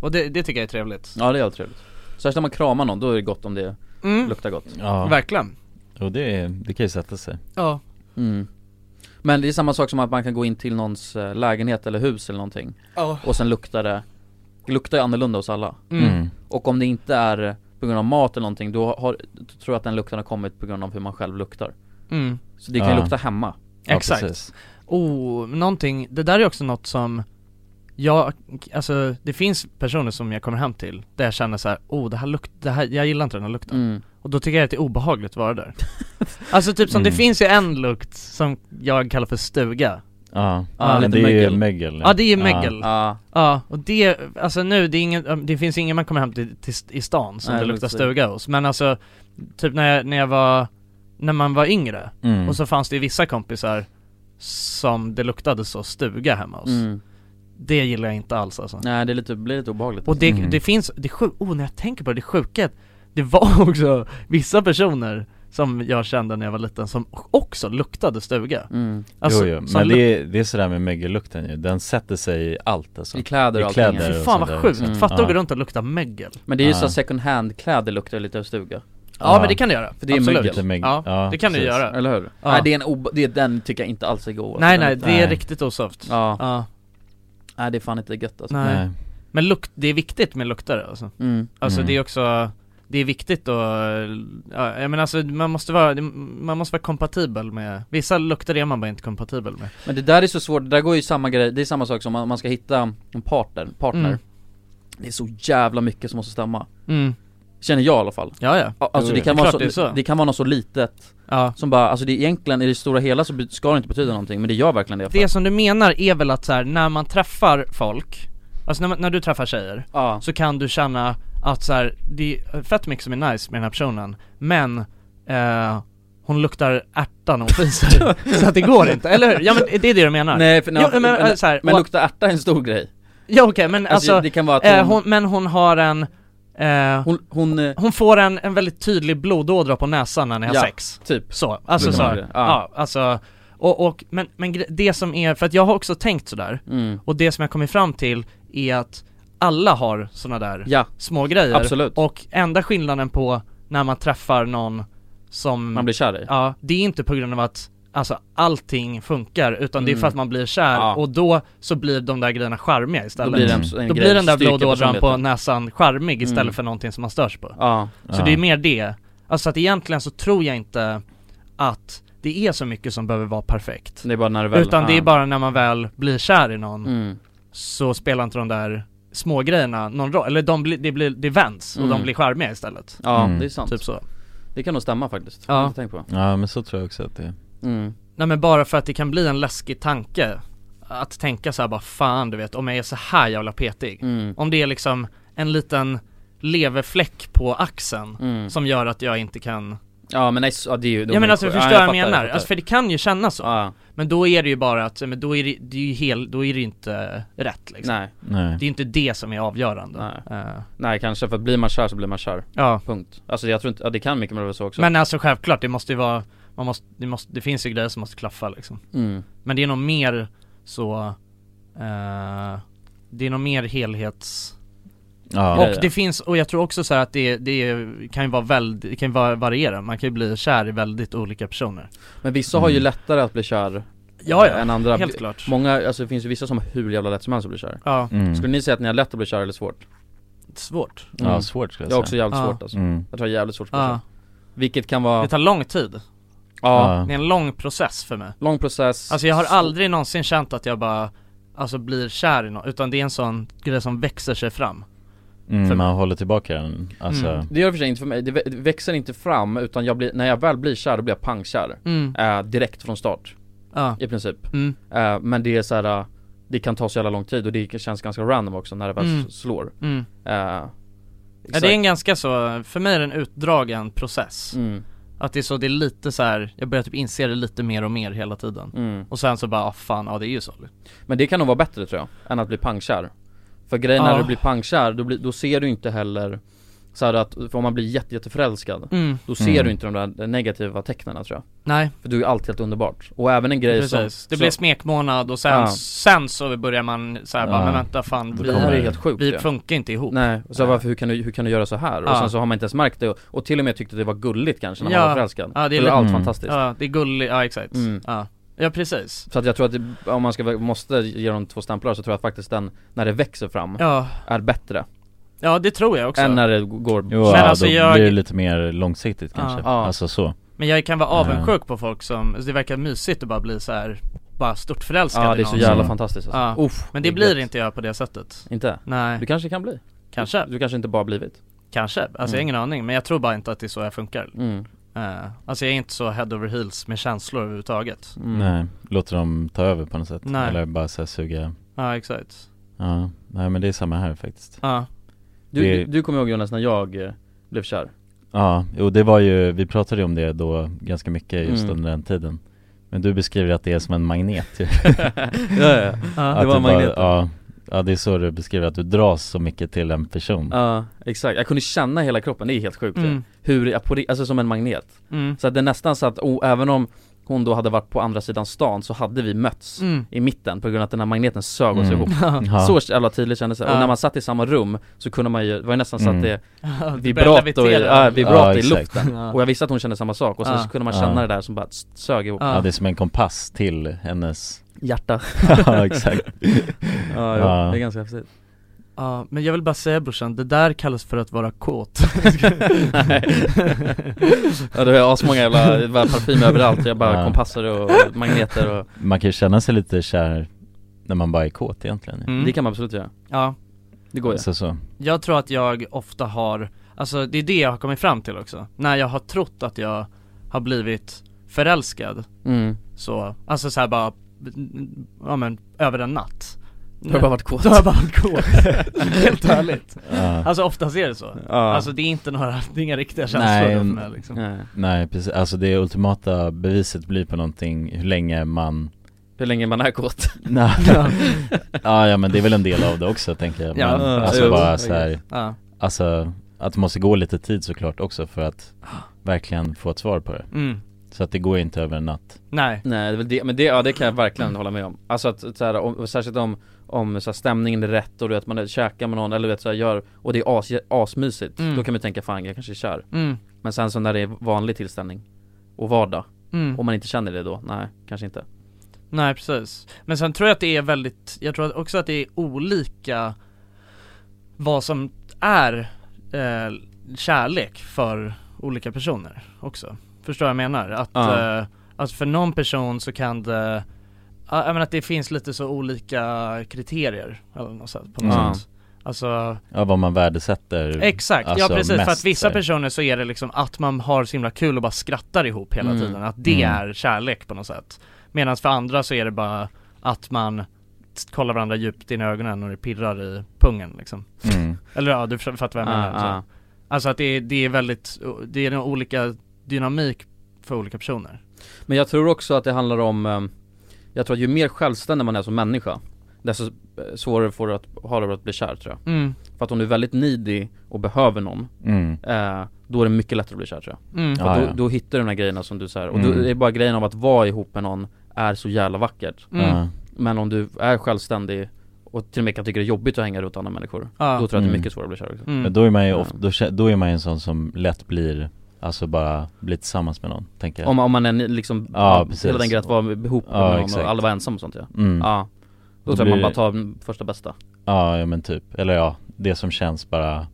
och det, det tycker jag är trevligt Ja det är alltid trevligt Särskilt när man kramar någon, då är det gott om det Mm. luktar gott Ja. Verkligen Och det, det kan ju sätta sig Ja Mm. Men det är samma sak som att man kan gå in till någons eh, lägenhet eller hus eller någonting Ja. Och sen luktar det, det luktar ju annorlunda hos alla Mm. Mm. Och om det inte är på grund av mat eller någonting, då, har, då tror jag att den lukten har kommit på grund av hur man själv luktar Mm. Så det kan ju Ja. lukta hemma Exakt. oh, men någonting, det där är också något som jag, alltså det finns personer som jag kommer hem till där jag känner så här, oh det här lukt, det här, jag gillar inte den här lukten. Mm. Och då tycker jag att det är obehagligt att vara där. alltså typ som, det Mm. finns ju en lukt som jag kallar för stuga. Ja, men det är ju mögel Ja det är ju mögel. Ja. ja, och det, alltså nu, det, är ingen, det finns ingen man kommer hem till, till i stan som Nej, det det luktar luktar- stuga hos. Men alltså, typ när jag, när jag var, när man var yngre, Mm. och så fanns det ju vissa kompisar som det luktade så stuga hemma hos. Mm. Det gillar jag inte alls alltså. Nej det är lite, blir lite obehagligt Och det, Mm. det finns, det sjuka, oh när jag tänker på det, det sjuka är att det var också vissa personer som jag kände när jag var liten som också luktade stuga. Mm. Alltså, jo, jo. som men luk- det är, det är sådär med mögellukten ju, den sätter sig i allt alltså I kläder och I kläder allting, ja. och Fan vad sånt där sjukt, också. Mm. fatta att gå Ja. runt och lukta mögel. Men det är ju Ja. så att second hand kläder luktar lite av stuga Ja, men det kan det göra. För det är Absolut. mögel Lite mögel. Ja, Ja, det kan det precis. göra. Eller hur? Ja. Nej det är en obe- det, är- den tycker jag inte alls är god Nej Den nej, luktar- det är riktigt osoft. Ja. ja Nej det är fan inte gött alltså Nej. Men lukt, det är viktigt med luktare alltså. Mm. Alltså Mm. det är också, det är viktigt och, ja, jag menar alltså man måste vara, man måste vara kompatibel med, vissa lukter är man bara inte kompatibel med. Men det där är så svårt, det där går ju samma grej, det är samma sak som om man ska hitta en partner, partner Mm. Det är så jävla mycket som måste stämma Mm. Känner jag i alla fall Ja, ja. Alltså Jo, det jo. kan, Det är vara klart så, det är det, så. kan vara något så litet ja. Som bara, alltså det är egentligen i det stora hela så be- ska det inte betyda någonting, men det gör verkligen det i alla fall. Det som du menar är väl att så här, när man träffar folk, alltså när, man, när du träffar tjejer, så kan du känna att så här, det är fett mycket som är nice med den här personen, men eh, hon luktar ärta när hon fiser, så att det går inte, eller hur? Ja men det är det du menar? Nej, för, nej, ja, men, men, eh, så här, men och- lukta ärta är en stor grej Ja okej men alltså, Alltså, det kan vara att eh, hon- hon, men hon har en eh, hon, hon, får en, en väldigt tydlig blodådra på näsan när ni har Ja, sex typ. Så, alltså Brukar så, man ja. det, ja. alltså och, och men, men gre- det som är, för att jag har också tänkt sådär Mm. Och det som jag kommit fram till är att alla har såna där Ja. små grejer Absolut. Och enda skillnaden på när man träffar någon som Man blir kär i. Ja, det är inte på grund av att Alltså allting funkar utan det är för Mm. att man blir kär Ja. och då så blir de där grejerna charmiga istället Då blir det en- Mm. en Då grej, blir den där styrka blodådran på personligheten. näsan charmig istället Mm. för någonting som man störs på Ja. Så Ja. det är mer det Alltså att egentligen så tror jag inte att det är så mycket som behöver vara perfekt Det är bara när Mm. det väl- Utan det är ja. bara när man väl blir kär i någon Mm. Så spelar inte de där små grejerna någon roll, eller de blir, det blir, det vänds och Mm. de blir charmiga istället Ja, Mm. det är sant Typ så Det kan nog stämma faktiskt, Ja. ja. inte tänkt på Ja men så tror jag också att det är Mm. Nej men bara för att det kan bli en läskig tanke Att tänka så här bara fan du vet om jag är så här jävla petig Mm. Om det är liksom en liten leverfläck på axeln Mm. som gör att jag inte kan Ja men nej, så- ja, det är ju de Ja men är alltså sjuk- förstår Ja, jag vad jag fattar, menar? fattar. alltså för det kan ju kännas så Men då är det ju bara att, men då är det, det är ju hel, då är det ju inte rätt liksom Nej. Nej. Det är ju inte det som är avgörande Nej. Eh, Nej kanske, för att blir man kär så blir man kär Ja Punkt Alltså jag tror inte, ja, det kan mycket mer vara så också Men alltså självklart, det måste ju vara, man måste, det, måste, det finns ju grejer som måste klaffa liksom Mm. Men det är nog mer så, eh, det är nog mer helhets Ja. och Ja, ja. det finns, och jag tror också så här att det, det kan ju vara väldigt, det kan ju vara- variera, man kan ju bli kär i väldigt olika personer Men vissa har ju lättare att bli kär Mm. Ja, ja. än andra Helt klart. Många, alltså det finns ju vissa som har hur jävla lätt som helst att bli kär Ja. Mm. Skulle ni säga att ni har lätt att bli kär eller svårt? Mm. Svårt Ja, svårt skulle jag Jag har säga. också jävligt Ja. svårt alltså Mm. Jag tror jag är jävligt svårt att bli Ja. kär Vilket kan vara Det tar lång tid Ja. Det är en lång process för mig Lång process Alltså jag har aldrig någonsin känt att jag bara Alltså blir kär i någon, utan det är en sån grej som växer sig fram Mm, man håller tillbaka den, alltså Mm. Det gör det för sig inte för mig, det vä- det växer inte fram utan jag blir, när jag väl blir kär då blir jag pangkär Mm. eh, Direkt från start Ja. I princip Mm. eh, Men det är så här. eh, det kan ta så jävla lång tid och det känns ganska random också när det väl Mm. slår Mm. eh, ja, Det är en ganska så, för mig är det en utdragen process Mm. Att det är så, det är lite så här. jag börjar typ inse det lite mer och mer hela tiden Mm. Och sen så bara, ah, fan, ja det är ju så Men det kan nog vara bättre tror jag, än att bli pangkär För grejen Ja. när du blir pangkär, då, blir, då ser du inte heller så här att, för om man blir jätte, jätteförälskad Mm. Då ser Mm. du inte de där de negativa tecknen tror jag Nej. För du är ju allt helt underbart, och även en grej Precis, som det så- blir smekmånad och sen, Ja. sen så börjar man så här, bara, Ja. men vänta fan, Då vi, kommer det här är helt sjukt vi ja. funkar inte ihop Nej, och så varför, hur kan du, hur kan du göra så här? Och Ja. sen så har man inte ens märkt det och, och till och med tyckte det var gulligt kanske när man var förälskad Ja, det är Då allt mm. fantastiskt Ja, det är gulligt, ja exakt Mm. ja. ja, precis Så att jag tror att det, om man ska, måste ge dem två stämplar så tror jag faktiskt den, när det växer fram, Ja. är bättre Ja det tror jag också Än när det går Jo, ja, då blir det lite mer långsiktigt kanske, alltså Ja. alltså så Men jag kan vara avundsjuk på folk som, alltså det verkar mysigt att bara bli så här bara stort förälskad Ja, i det är så någon. jävla fantastiskt alltså. ja. Uff, Men det det, är blir gött. inte jag på det sättet Inte? Nej Du kanske kan bli? Kanske Du kanske inte bara blivit? Kanske, alltså jag har Mm. ingen aning men jag tror bara inte att det är så jag funkar Mm. Eh, Alltså jag är inte så head over heels med känslor överhuvudtaget Mm. Nej, låter dem ta över på något sätt Mm. Nej. Eller bara så här suga Ja exakt Ja, nej men det är samma här faktiskt Ja Du, Det- du, du kommer ihåg Jonas när jag eh, blev kär? Ja, jo det var ju, vi pratade ju om det då ganska mycket just Mm. under den tiden Men du beskriver att det är som en magnet ju. ja, ja. Att Det var du en bara- magnet. ja, ja, det är så du beskriver att du dras så mycket till en person Ja, exakt. Jag kunde känna hela kroppen, det är helt sjukt Mm. det. Hur, jag på det- alltså som en magnet Mm. Så att det är nästan så att, oh, även om hon då hade varit på andra sidan stan så hade vi mötts Mm. i mitten på grund av att den här magneten sög oss Mm. ihop Ja. Så jävla tydligt kändes det, och Ja. när man satt i samma rum så kunde man ju, det var ju nästan så Mm. att det Ja, det började vibrato i, levitera. ja, vibrato Ja, i exakt. luften Ja. Och jag visste att hon kände samma sak och sen Ja. så kunde man känna Ja. det där som bara s- sög ihop Ja, det är som en kompass till hennes Hjärta Ja, exakt Ja, jo, Ja. det är ganska häftigt Ja, men jag vill bara säga brorsan, det där kallas för att vara kåt Ja det var asmånga jävla, det var parfym överallt, jag bara Ja. kompasser och magneter och Man kan ju känna sig lite kär när man bara är kåt egentligen Mm. Det kan man absolut göra Ja Det går ju Så, så. Jag tror att jag ofta har, alltså det är det jag har kommit fram till också När jag har trott att jag har blivit förälskad Mm. Så, alltså såhär bara, ja men över en natt Då har jag bara varit kåt. Då har jag bara varit kåt, helt ärligt Ja. Alltså oftast är det så Ja. Alltså det är inte några, det är inga riktiga känslor för mig liksom nej precis, alltså det ultimata beviset blir på någonting hur länge man Hur länge man är kåt Nej. ja, ja men det är väl en del av det också tänker jag men, Ja, Alltså jo, bara I så här, guess. Ja. Alltså att det måste gå lite tid såklart också för att verkligen få ett svar på det Mm. Så att det går ju inte över en natt Nej Nej, det är väl det, men det, ja, det kan jag verkligen hålla med om Alltså att så här, om, och särskilt om, om så här, stämningen är rätt och du vet man är- käkar med någon eller du vet så här, gör Och det är as, asmysigt, Mm. då kan man ju tänka fan jag kanske är kär Mm. Men sen så när det är vanlig tillställning och vardag Mm. Om man inte känner det då, nej kanske inte Nej precis, men sen tror jag att det är väldigt, jag tror att- också att det är olika vad som är eh, kärlek för olika personer också. Förstår vad jag menar? Att, Ja. eh, att för någon person så kan det, ja, jag menar att det finns lite så olika kriterier eller något sätt, på något Ja. sätt. Alltså Ja vad man värdesätter Exakt, alltså, ja precis för mest, att vissa så här. personer så är det liksom att man har så himla kul och bara skrattar ihop hela Mm. tiden, att det Mm. är kärlek på något sätt Medan för andra så är det bara att man t- kollar varandra djupt in i ögonen och det pirrar i pungen liksom Mm. Eller ja, du f- fattar vad jag Ah, menar alltså. ah. alltså att det är, det är väldigt, det är nog olika dynamik för olika personer. Men jag tror också att det handlar om, eh, jag tror att ju mer självständig man är som människa Desto eh, svårare får du att ha det att bli kär tror jag Mm. För att om du är väldigt needy och behöver någon Mm. eh, Då är det mycket lättare att bli kär tror jag Mm. För att Ah, då, ja. då hittar du de här grejerna som du säger Och Mm. då är bara grejen av att vara ihop med någon är så jävla vackert Mm. Ja. Men om du är självständig och till och med kan tycka det är jobbigt att hänga runt andra människor Ja. Då tror jag att det är Mm. mycket svårare att bli kär också. Ja, Då är man ju ofta, då, kä- då är man ju en sån som lätt blir, alltså bara blir tillsammans med någon, tänker jag Om, om man är liksom, Ja, precis. hela den grejen att vara ihop med Ja, någon exakt. och alla var ensam och sånt ja. Mm. ja. Då, Då tror jag man blir bara det- tar den första bästa Ja, ja men typ, eller ja, det som känns bara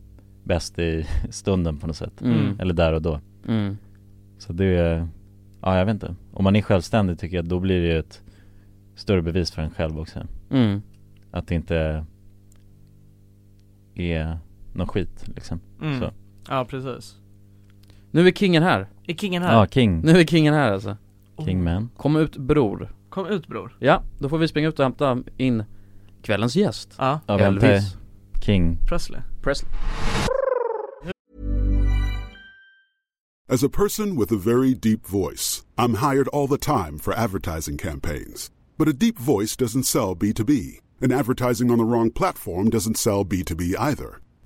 bäst i stunden på något sätt Mm. Eller där och då Mm. Så det är, ja jag vet inte Om man är självständig tycker jag då blir det ju ett större bevis för en själv också Mm. Att det inte är någon skit liksom Mm. så. Ja, precis. Nu är kingen här Är kingen här? Ja, king, Nu är kingen här alltså kingman Kom ut bror Kom ut bror. Ja, då får vi springa ut och hämta in kvällens gäst Ja, Ja, vänta. Elvis King Presley. Presley As a person with a very deep voice, I'm hired all the time for advertising campaigns. But a deep voice doesn't sell B2B, and advertising on the wrong platform doesn't sell B2B either.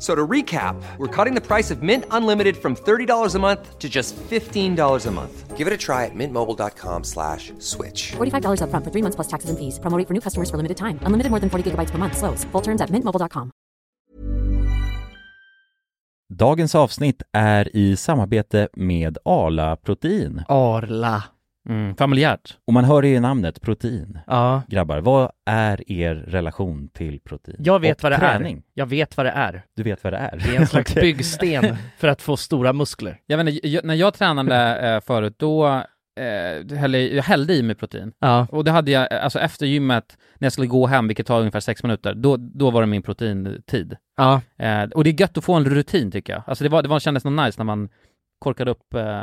So to recap, we're cutting the price of Mint Unlimited from $30 a month to just $15 a month. Give it a try at mintmobile.com slash switch. $45 upfront for three months plus taxes and fees. Promo rate for new customers for limited time. Unlimited more than 40 gigabytes per month. Slows. Full terms at mintmobile.com. Dagens avsnitt är i samarbete med Arla Protein Arla mm, Familjärt Och man hör det i namnet, protein Ja Grabbar, vad är er relation till protein? Jag vet Och vad det träning? är. Jag vet vad det är. Du vet vad det är? Det är en slags Okej. byggsten för att få stora muskler. Jag vet inte, jag, när jag tränade eh, förut då eh, hällde, jag- jag hällde i mig protein. Ja. Och det hade jag, eh, alltså efter gymmet, när jag skulle gå hem, vilket tar ungefär sex minuter, då, då var det min proteintid. Ja. Eh, och det är gött att få en rutin tycker jag. Alltså det, var, det var, kändes nog nice när man korkade upp eh,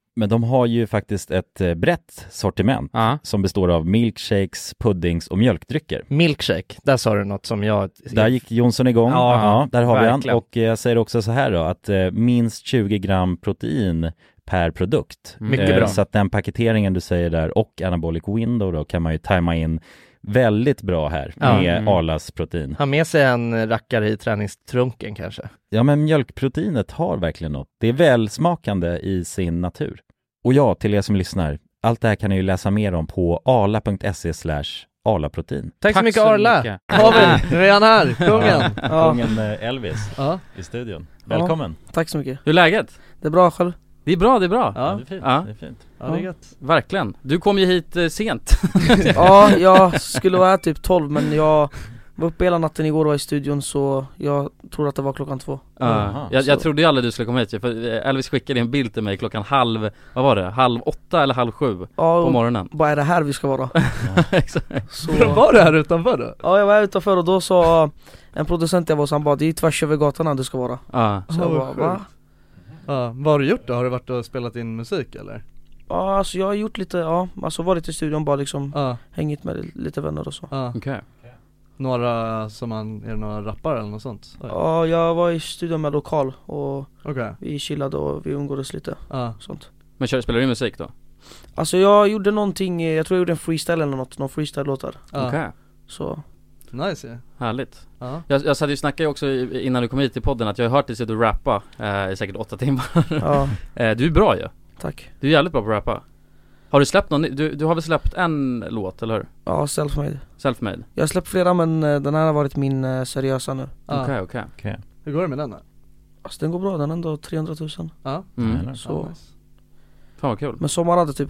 men de har ju faktiskt ett eh, brett sortiment som består av milkshakes, puddings och mjölkdrycker Milkshake, där sa du något som jag... Där gick Jonsson igång, Ja, ja, där har vi verkligen. han. Och eh, jag säger också så här då, att eh, minst 20 gram protein per produkt. Mm. Mycket Eh, bra. Så att den paketeringen du säger där och anabolic window då kan man ju tajma in väldigt bra här Ja. med Mm. Arlas protein. Ha med sig en rackare i träningstrunken kanske. Ja men mjölkproteinet har verkligen något. Det är välsmakande i sin natur. Och ja, till er som lyssnar, allt det här kan ni ju läsa mer om på arla.se slash Arla-protein. Tack så mycket, Arla. Har vi, nu är han här, kungen! Ja. Kungen eh, Elvis i studion. Välkommen! Ja, Tack så mycket Hur är läget? Det är bra själv Det är bra, det är bra Ja, det är fint, det är fint. Ja, det är gött. Verkligen, du kom ju hit eh, sent Ja, jag skulle vara här typ 12 men jag var uppe hela natten igår och var i studion så jag tror att det var klockan två Ja, jag, jag trodde ju aldrig du skulle komma hit för eh, Elvis skickade en bild till mig klockan halv, vad var det? Halv åtta eller halv sju Ja, på och morgonen Bara är det här vi ska vara? Exakt. Så... Var du här utanför då? Ja jag var här utanför och då sa en producent jag var hos, han bara det är tvärs över gatan här du ska vara Ja. Så jag Ja, bara vad va? sjukt. Ja, vad har du gjort då? Har du varit och spelat in musik eller? Ja alltså jag har gjort lite, ja alltså varit i studion bara liksom Hängt med lite vänner och så Ja. Några som man, är det några rappare eller något sånt? Oj. Ja, jag var i studion med lokal och Okej. vi chillade och vi umgåddes lite sånt. Men kör, spelar du musik då? Alltså jag gjorde någonting, eh, jag tror jag gjorde en freestyle eller något, någon freestyle-låtar Ja. Okej. Så Nice ju. Härligt Ja. Jag, jag hade ju snackat ju också i- innan du kom hit till podden att jag har hört dig sitta och rappa eh, i säkert åtta timmar Ja. eh, Du är bra ju Tack Du är jävligt bra på att rappa Har du släppt någon, ny- du, du har väl släppt en låt eller hur? Ja, selfmade Selfmade? Jag har släppt flera men eh, den här har varit min eh, seriösa nu Ja. Okej, okej. Okej. Hur går det med den då? Alltså den går bra, den har ändå 300 000 Ja. Mm. Så Fan vad kul Men sommar hade typ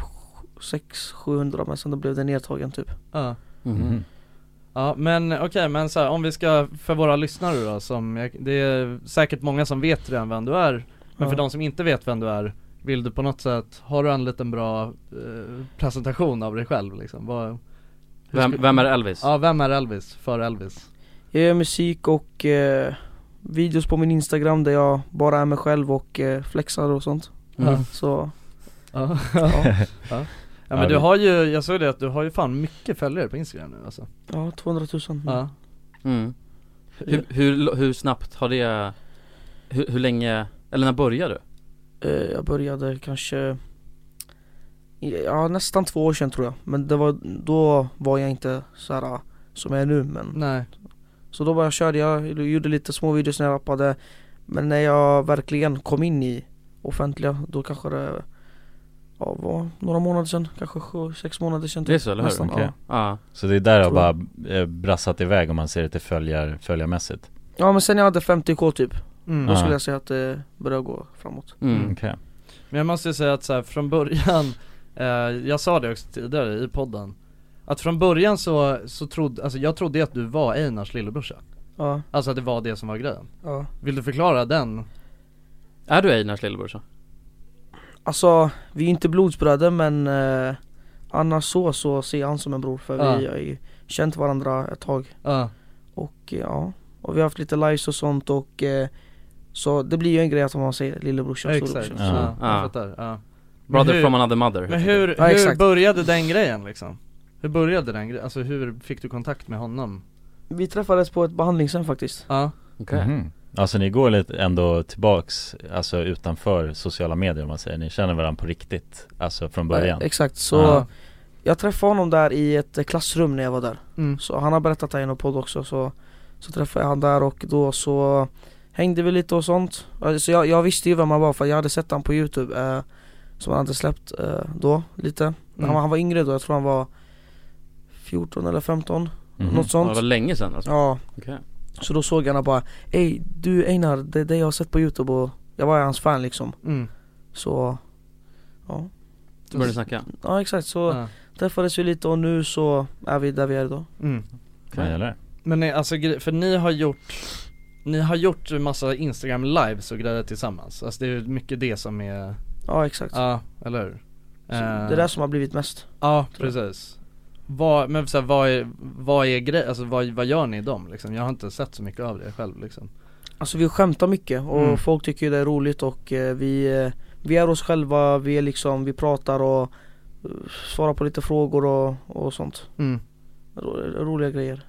600-700 men sen då blev det nedtagen typ Ja. Mm. Mhm. Ja men okej men så här, om vi ska, för våra lyssnare då som, jag, det är säkert många som vet redan vem du är Men för Ja. de som inte vet vem du är, vill du på något sätt, har du en liten bra eh, presentation av dig själv liksom? Vad, hur Vem- skulle- vem är Elvis? Ja vem är Elvis, för Elvis? Jag gör musik och eh, videos på min instagram där jag bara är mig själv och eh, flexar och sånt Mm. Så Ja. ja. ja Ja, men du vi- har ju, jag såg det att du har ju fan mycket följare på instagram nu alltså Ja, 200 000 Ja Mm. Hur, hur, hur snabbt har det, hur, hur länge, eller när började du? Eh, Jag började kanske Ja nästan två år sedan tror jag Men det var, då var jag inte så här ah, som jag är nu men Nej Så då bara körde jag, gjorde lite små videos när jag rappade Men när jag verkligen kom in i offentliga då kanske det Ja var några månader sedan, kanske sju, sex månader sedan typ. Det är så, eller hur? Nästan, Okej. ja. Så det är där jag Tror bara eh, brassat iväg om man ser det till följar, följarmässigt. ja men sen jag hade 50k typ Mm. Då Ja. skulle jag säga att det började gå framåt Mm. Okej. Men jag måste ju säga att så här, från början, eh, jag sa det också tidigare i podden Att från början så, så trodde, alltså jag trodde att du var Einars lillebrorsa Ja. Alltså att det var det som var grejen Ja. Vill du förklara den? Är du Einars lillebrorsa? Alltså, vi är inte blodsbröder men eh, annars så, så ser jag han som en bror för Ja. vi har ju känt varandra ett tag Ja. Och eh, ja, och vi har haft lite lives och sånt och eh, Så det blir ju en grej att man säger lillebrorsa och Exakt, storebrorsa ja, så- Ja. jag fattar, ja Brother Men from another mother, Men helt hur, enkelt. Ja, hur exakt. började den grejen liksom? Hur började den grejen? Alltså hur fick du kontakt med honom? Vi träffades på ett behandlingshem faktiskt Ja Mm-hmm. Mhm. Alltså ni går lite ändå tillbaks, alltså utanför sociala medier om man säger. Ni känner varandra på riktigt, alltså från början. Eh, Exakt, så Ja. jag träffade honom där i ett eh, klassrum när jag var där Mm. Så han har berättat det här i någon podd också så, så träffade jag han där och då så hängde vi lite och sånt Eh, Så jag, jag visste ju vem han var för jag hade sett han på youtube eh, Som han hade släppt eh, då lite Men han, Mm. var- han var yngre då, jag tror han var 14 eller 15 Mhm. Något sånt Ja, det var länge sedan alltså. Ja Okej. Så då såg jag honom bara Ey du Einar, det är det jag har sett på youtube och jag var ju hans fan liksom Mm. Så, ja Du började snacka? Ja exakt, så Ja. träffades vi lite och nu så är vi där vi är idag Mm. Vad gäller? Men nej, alltså gre- för ni har gjort Ni har gjort en massa instagram lives och grejer tillsammans Alltså det är ju mycket det som är Ja exakt Ja, eller hur? Eh, Så Det är det som har blivit mest Ja, tror jag. precis vad, men så här, vad är, vad är grej, alltså vad, vad gör ni i dem liksom? Jag har inte sett så mycket av det själv liksom Alltså vi skämtar mycket och Mm. folk tycker ju det är roligt och eh, vi, eh, vi är oss själva, vi är liksom, vi pratar och eh, svarar på lite frågor och, och sånt Mm. Ro- Roliga grejer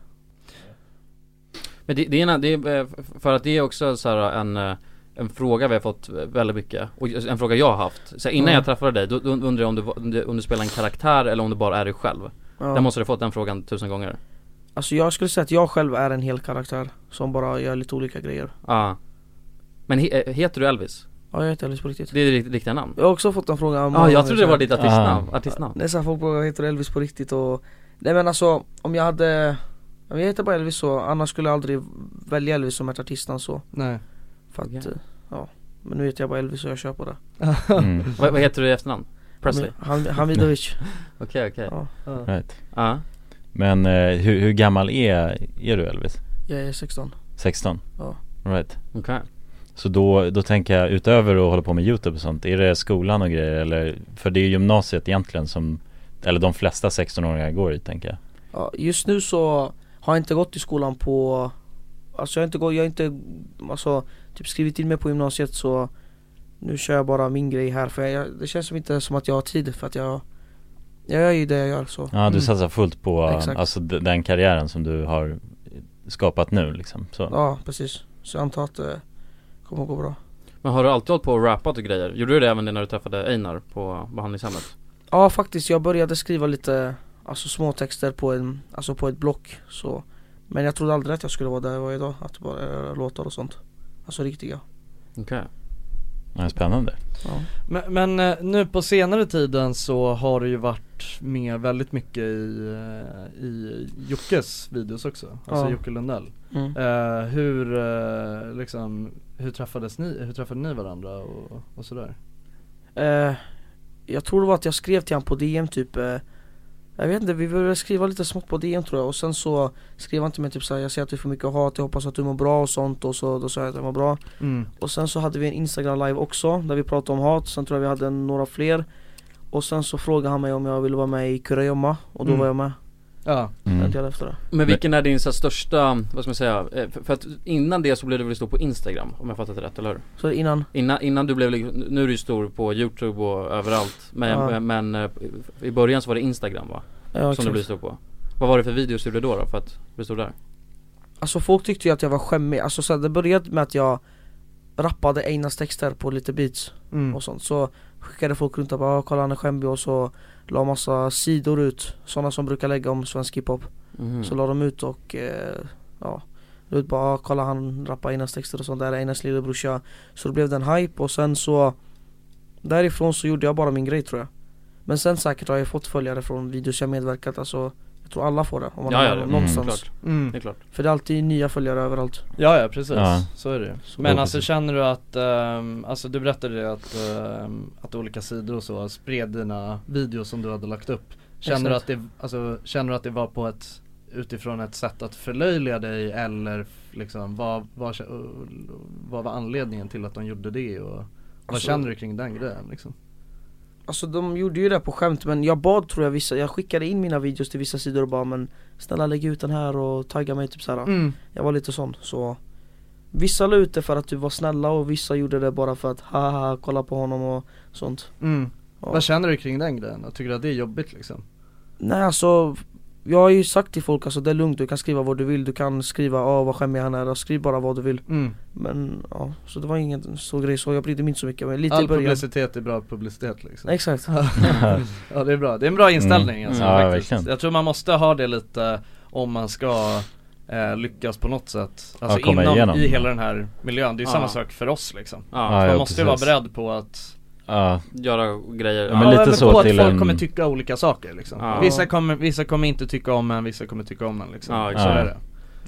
Men det, det, är en, det är, eh, för att det är också så här en, eh, en fråga vi har fått eh, väldigt mycket och en fråga jag har haft. Så här, innan Ja. jag träffade dig, då, då undrade jag om du, var- om du, om du spelar en karaktär eller om du bara är dig själv. Ja. Där måste du ha fått den frågan tusen gånger. Alltså jag skulle säga att jag själv är en hel karaktär som bara gör lite olika grejer Ja. Men he, eh, heter du Elvis? Ja jag heter Elvis på riktigt Det är ditt riktiga namn? Jag har också fått en fråga Ja, jag trodde det var ditt artistnamn, Ah. artistnamn. Det är såhär folk bara, heter du Elvis på riktigt och Nej men alltså, om jag hade Jag heter bara Elvis så, annars skulle jag aldrig välja Elvis som ett artistnamn så Nej För att, eh, ja Men nu heter jag bara Elvis och jag kör på det Mm. Vad- vad heter du i efternamn? Presley? Ham- Hamidovic Okej, okej. Ja. Right. Ja. Men eh, hur, hur gammal är, är du Elvis? Jag är 16 16? Ja. Right. Okej. Så då, då tänker jag utöver att hålla på med YouTube och sånt, är det skolan och grejer eller? För det är ju gymnasiet egentligen som, eller de flesta 16-åringar går i tänker jag. Ja, just nu så har jag inte gått i skolan på Alltså jag har inte gått, jag har inte alltså, typ skrivit in mig på gymnasiet så Nu kör jag bara min grej här för jag, det känns som inte som att jag har tid för att jag Jag gör ju det jag gör så Ja, Mm. du satsar fullt på Exakt. alltså, d- den karriären som du har skapat nu liksom. Så. Ja precis, så jag antar att det kommer att gå bra Men har du alltid hållit på och rappat och grejer? Gjorde du det även när du träffade Einar på behandlingshemmet? Ja faktiskt, jag började skriva lite Alltså små texter på, en, alltså på ett block så Men jag trodde aldrig att jag skulle vara där jag var idag, att bara göra låtar och sånt Alltså riktiga Okej Ja, spännande. Men, men eh, nu på senare tiden så har det ju varit med väldigt mycket i, eh, i Jockes videos också, alltså Ja. Jocke Lundell Mm. Eh, Hur, eh, liksom, hur träffades ni, hur träffade ni varandra och, och sådär? Eh, jag tror det var att jag skrev till han på DM typ eh, Jag vet inte, vi började skriva lite smått på DM tror jag och sen så skrev han till mig typ såhär Jag ser att du får mycket hat, jag hoppas att du mår bra och sånt och så då sa jag att jag mår bra Mm. Och sen så hade vi en instagram live också där vi pratade om hat, sen tror jag vi hade några fler Och sen så frågade han mig om jag ville vara med i Kurragömma och då Mm. var jag med Ja Mm. En del efter det Men vilken är din så här, största, vad ska man säga, eh, för, för att innan det så blev du väl stor på Instagram om jag fattat det rätt, eller hur? Så innan? Innan, innan du blev, liksom- nu är du ju stor på YouTube och överallt Men, Ja. men eh, i början så var det Instagram va? Ja, Som exakt. du blev stor på Vad var det för videos du gjorde då, då för att bli stor där? Alltså folk tyckte ju att jag var skämmig, alltså så här, det började med att jag rappade Einars texter på lite beats Mm. och sånt Så skickade folk runt och bara "Ah, 'kolla han är skämmig' och så la massa sidor ut Sådana som brukar lägga om svensk hiphop Mhm. Så la de ut och eh, ja la ut bara "Ah, 'kolla han rappar Einars texter' och sånt där, Einars lillebrorsa Så det blev den hype och sen så Därifrån så gjorde jag bara min grej tror jag Men sen säkert har jag fått följare från videos jag medverkat, alltså Jag tror alla får det om man Ja, ja, är det- någonstans mm, klart. Mm. Det är klart För det är alltid nya följare överallt Ja ja precis, Ja. så är det ju. Så- Men Ja, alltså precis. känner du att, ehm, alltså du berättade det att, ehm, att olika sidor och så spred dina videos som du hade lagt upp Känner du att Exakt. det, alltså känner du att det var på ett, utifrån ett sätt att förlöjliga dig eller f- liksom vad, vad, kä- vad var anledningen till att de gjorde det och vad Alltså- känner du kring den grejen liksom? Alltså de gjorde ju det på skämt men jag bad tror jag vissa, jag skickade in mina videos till vissa sidor och bara men Snälla lägg ut den här och tagga mig typ så här. Mm. Jag var lite sån så Vissa la ut det för att du var snälla och vissa gjorde det bara för att haha kolla på honom och sånt Mm. Ja. Vad känner du kring den grejen? Tycker du att det är jobbigt liksom? Nej alltså Jag har ju sagt till folk alltså det är lugnt, du kan skriva vad du vill, du kan skriva ja vad skämmig han är, och skriv bara vad du vill Mm. Men ja, så det var ingen stor grej så jag brydde mig inte så mycket men lite i All början publicitet är bra publicitet liksom Exakt. Ja det är bra, det är en bra inställning Mm. alltså, Ja, faktiskt. verkligen. Jag tror man måste ha det lite om man ska eh, lyckas på något sätt Alltså Ja, komma inom, igenom. i hela den här miljön, det är ju Ja. samma sak för oss liksom Ja. Man Ja, ja, måste ju vara precis. beredd på att Ja. Göra grejer Ja, men lite så på att till folk en- kommer tycka olika saker liksom Ja. vissa, kommer, vissa kommer inte tycka om en, vissa kommer tycka om en liksom Ja, Så exakt. är det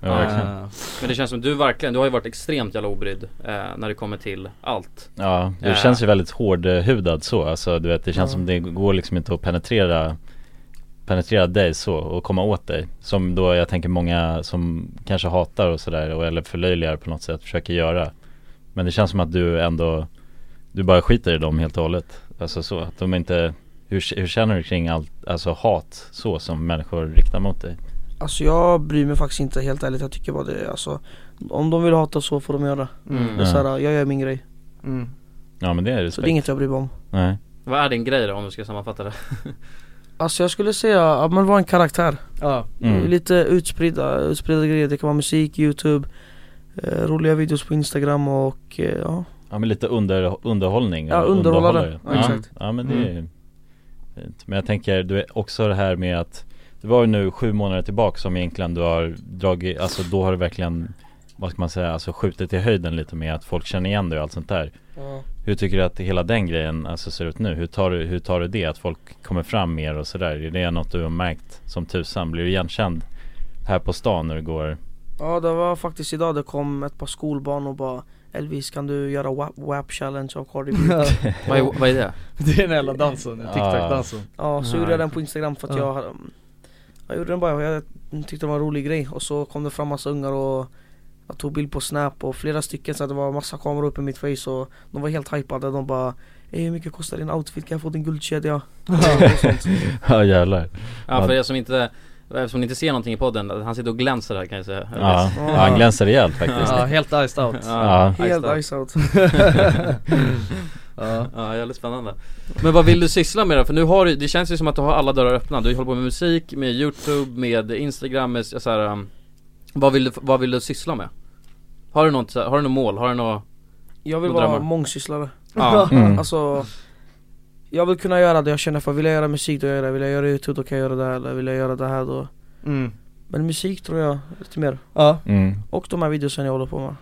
Eh, Eh, Men det känns som du verkligen, du har ju varit extremt jävla obrydd eh, när det kommer till allt Ja, du Eh, känns ju väldigt hårdhudad så. Alltså du vet, det känns Ja. som det går liksom inte att penetrera penetrera dig så och komma åt dig. Som då jag tänker många som kanske hatar och sådär och- eller förlöjligar på något sätt försöker göra. Men det känns som att du ändå, du bara skiter i dem helt och hållet. Alltså så, att de inte, hur, hur känner du kring allt, alltså hat så som människor riktar mot dig? Alltså jag bryr mig faktiskt inte helt ärligt, jag tycker bara det alltså Om de vill hata så får de göra Mm. det är så här, Jag gör min grej, Ja men det är respekt. så det är inget jag bryr mig om Nej. Vad är din grej då om du ska sammanfatta det? Alltså jag skulle säga, ja men vara en karaktär Ja. Mm. Lite utspridda, utspridda grejer, det kan vara musik, youtube eh, Roliga videos på instagram och eh, ja Ja men lite under, underhållning Ja, och underhållare. underhållare. Ja, exakt. ja men det är ju fint Men jag tänker du är också det här med att Det var ju nu sju månader tillbaka som egentligen du har dragit Alltså då har du verkligen Vad ska man säga, alltså skjutit i höjden lite med att folk känner igen dig och allt sånt där Ja. Hur tycker du att hela den grejen alltså, ser ut nu? Hur tar, du, hur tar du det? Att folk kommer fram mer och sådär? Är det något du har märkt som tusan? Blir du igenkänd här på stan när du går? Ja det var faktiskt idag det kom ett par skolbarn och bara Elvis kan du göra WAP, WAP challenge av Cardi B? Vad är- vad är det? Det är den jävla dansen, TikTok-dansen Ja, så gjorde jag den på instagram för att Ja. jag mm, Jag gjorde den bara, jag tyckte det var en rolig grej och så kom det fram massa ungar och Jag tog bild på snap och flera stycken så att det var massa kameror uppe i mitt face och De var helt hypade, de bara Ey hur mycket kostar din outfit? Kan jag få din guldkedja? Och sånt. ja jävlar Ja för er som inte, eftersom ni inte ser någonting i podden, han sitter och glänser här kan jag säga Ja, ja, han glänser rejält faktiskt. Ja, helt iced out. Ja. Helt iced out. ja. ja, jävligt spännande Men vad vill du syssla med då? För nu har du, det känns ju som att du har alla dörrar öppna Du håller på med musik, med youtube, med instagram, med så här, um, vad, vill du, vad vill du syssla med? Har du något, så här- har du något mål? Har du något Jag vill några vara drömmar? mångsysslare Ja. Mm. Alltså Jag vill kunna göra det jag känner för, vill jag göra musik då gör jag det, vill jag göra youtube då kan jag göra det här, eller vill jag göra det här då Mm. Men musik tror jag lite mer Ja Mm. Och de här videosen jag håller på med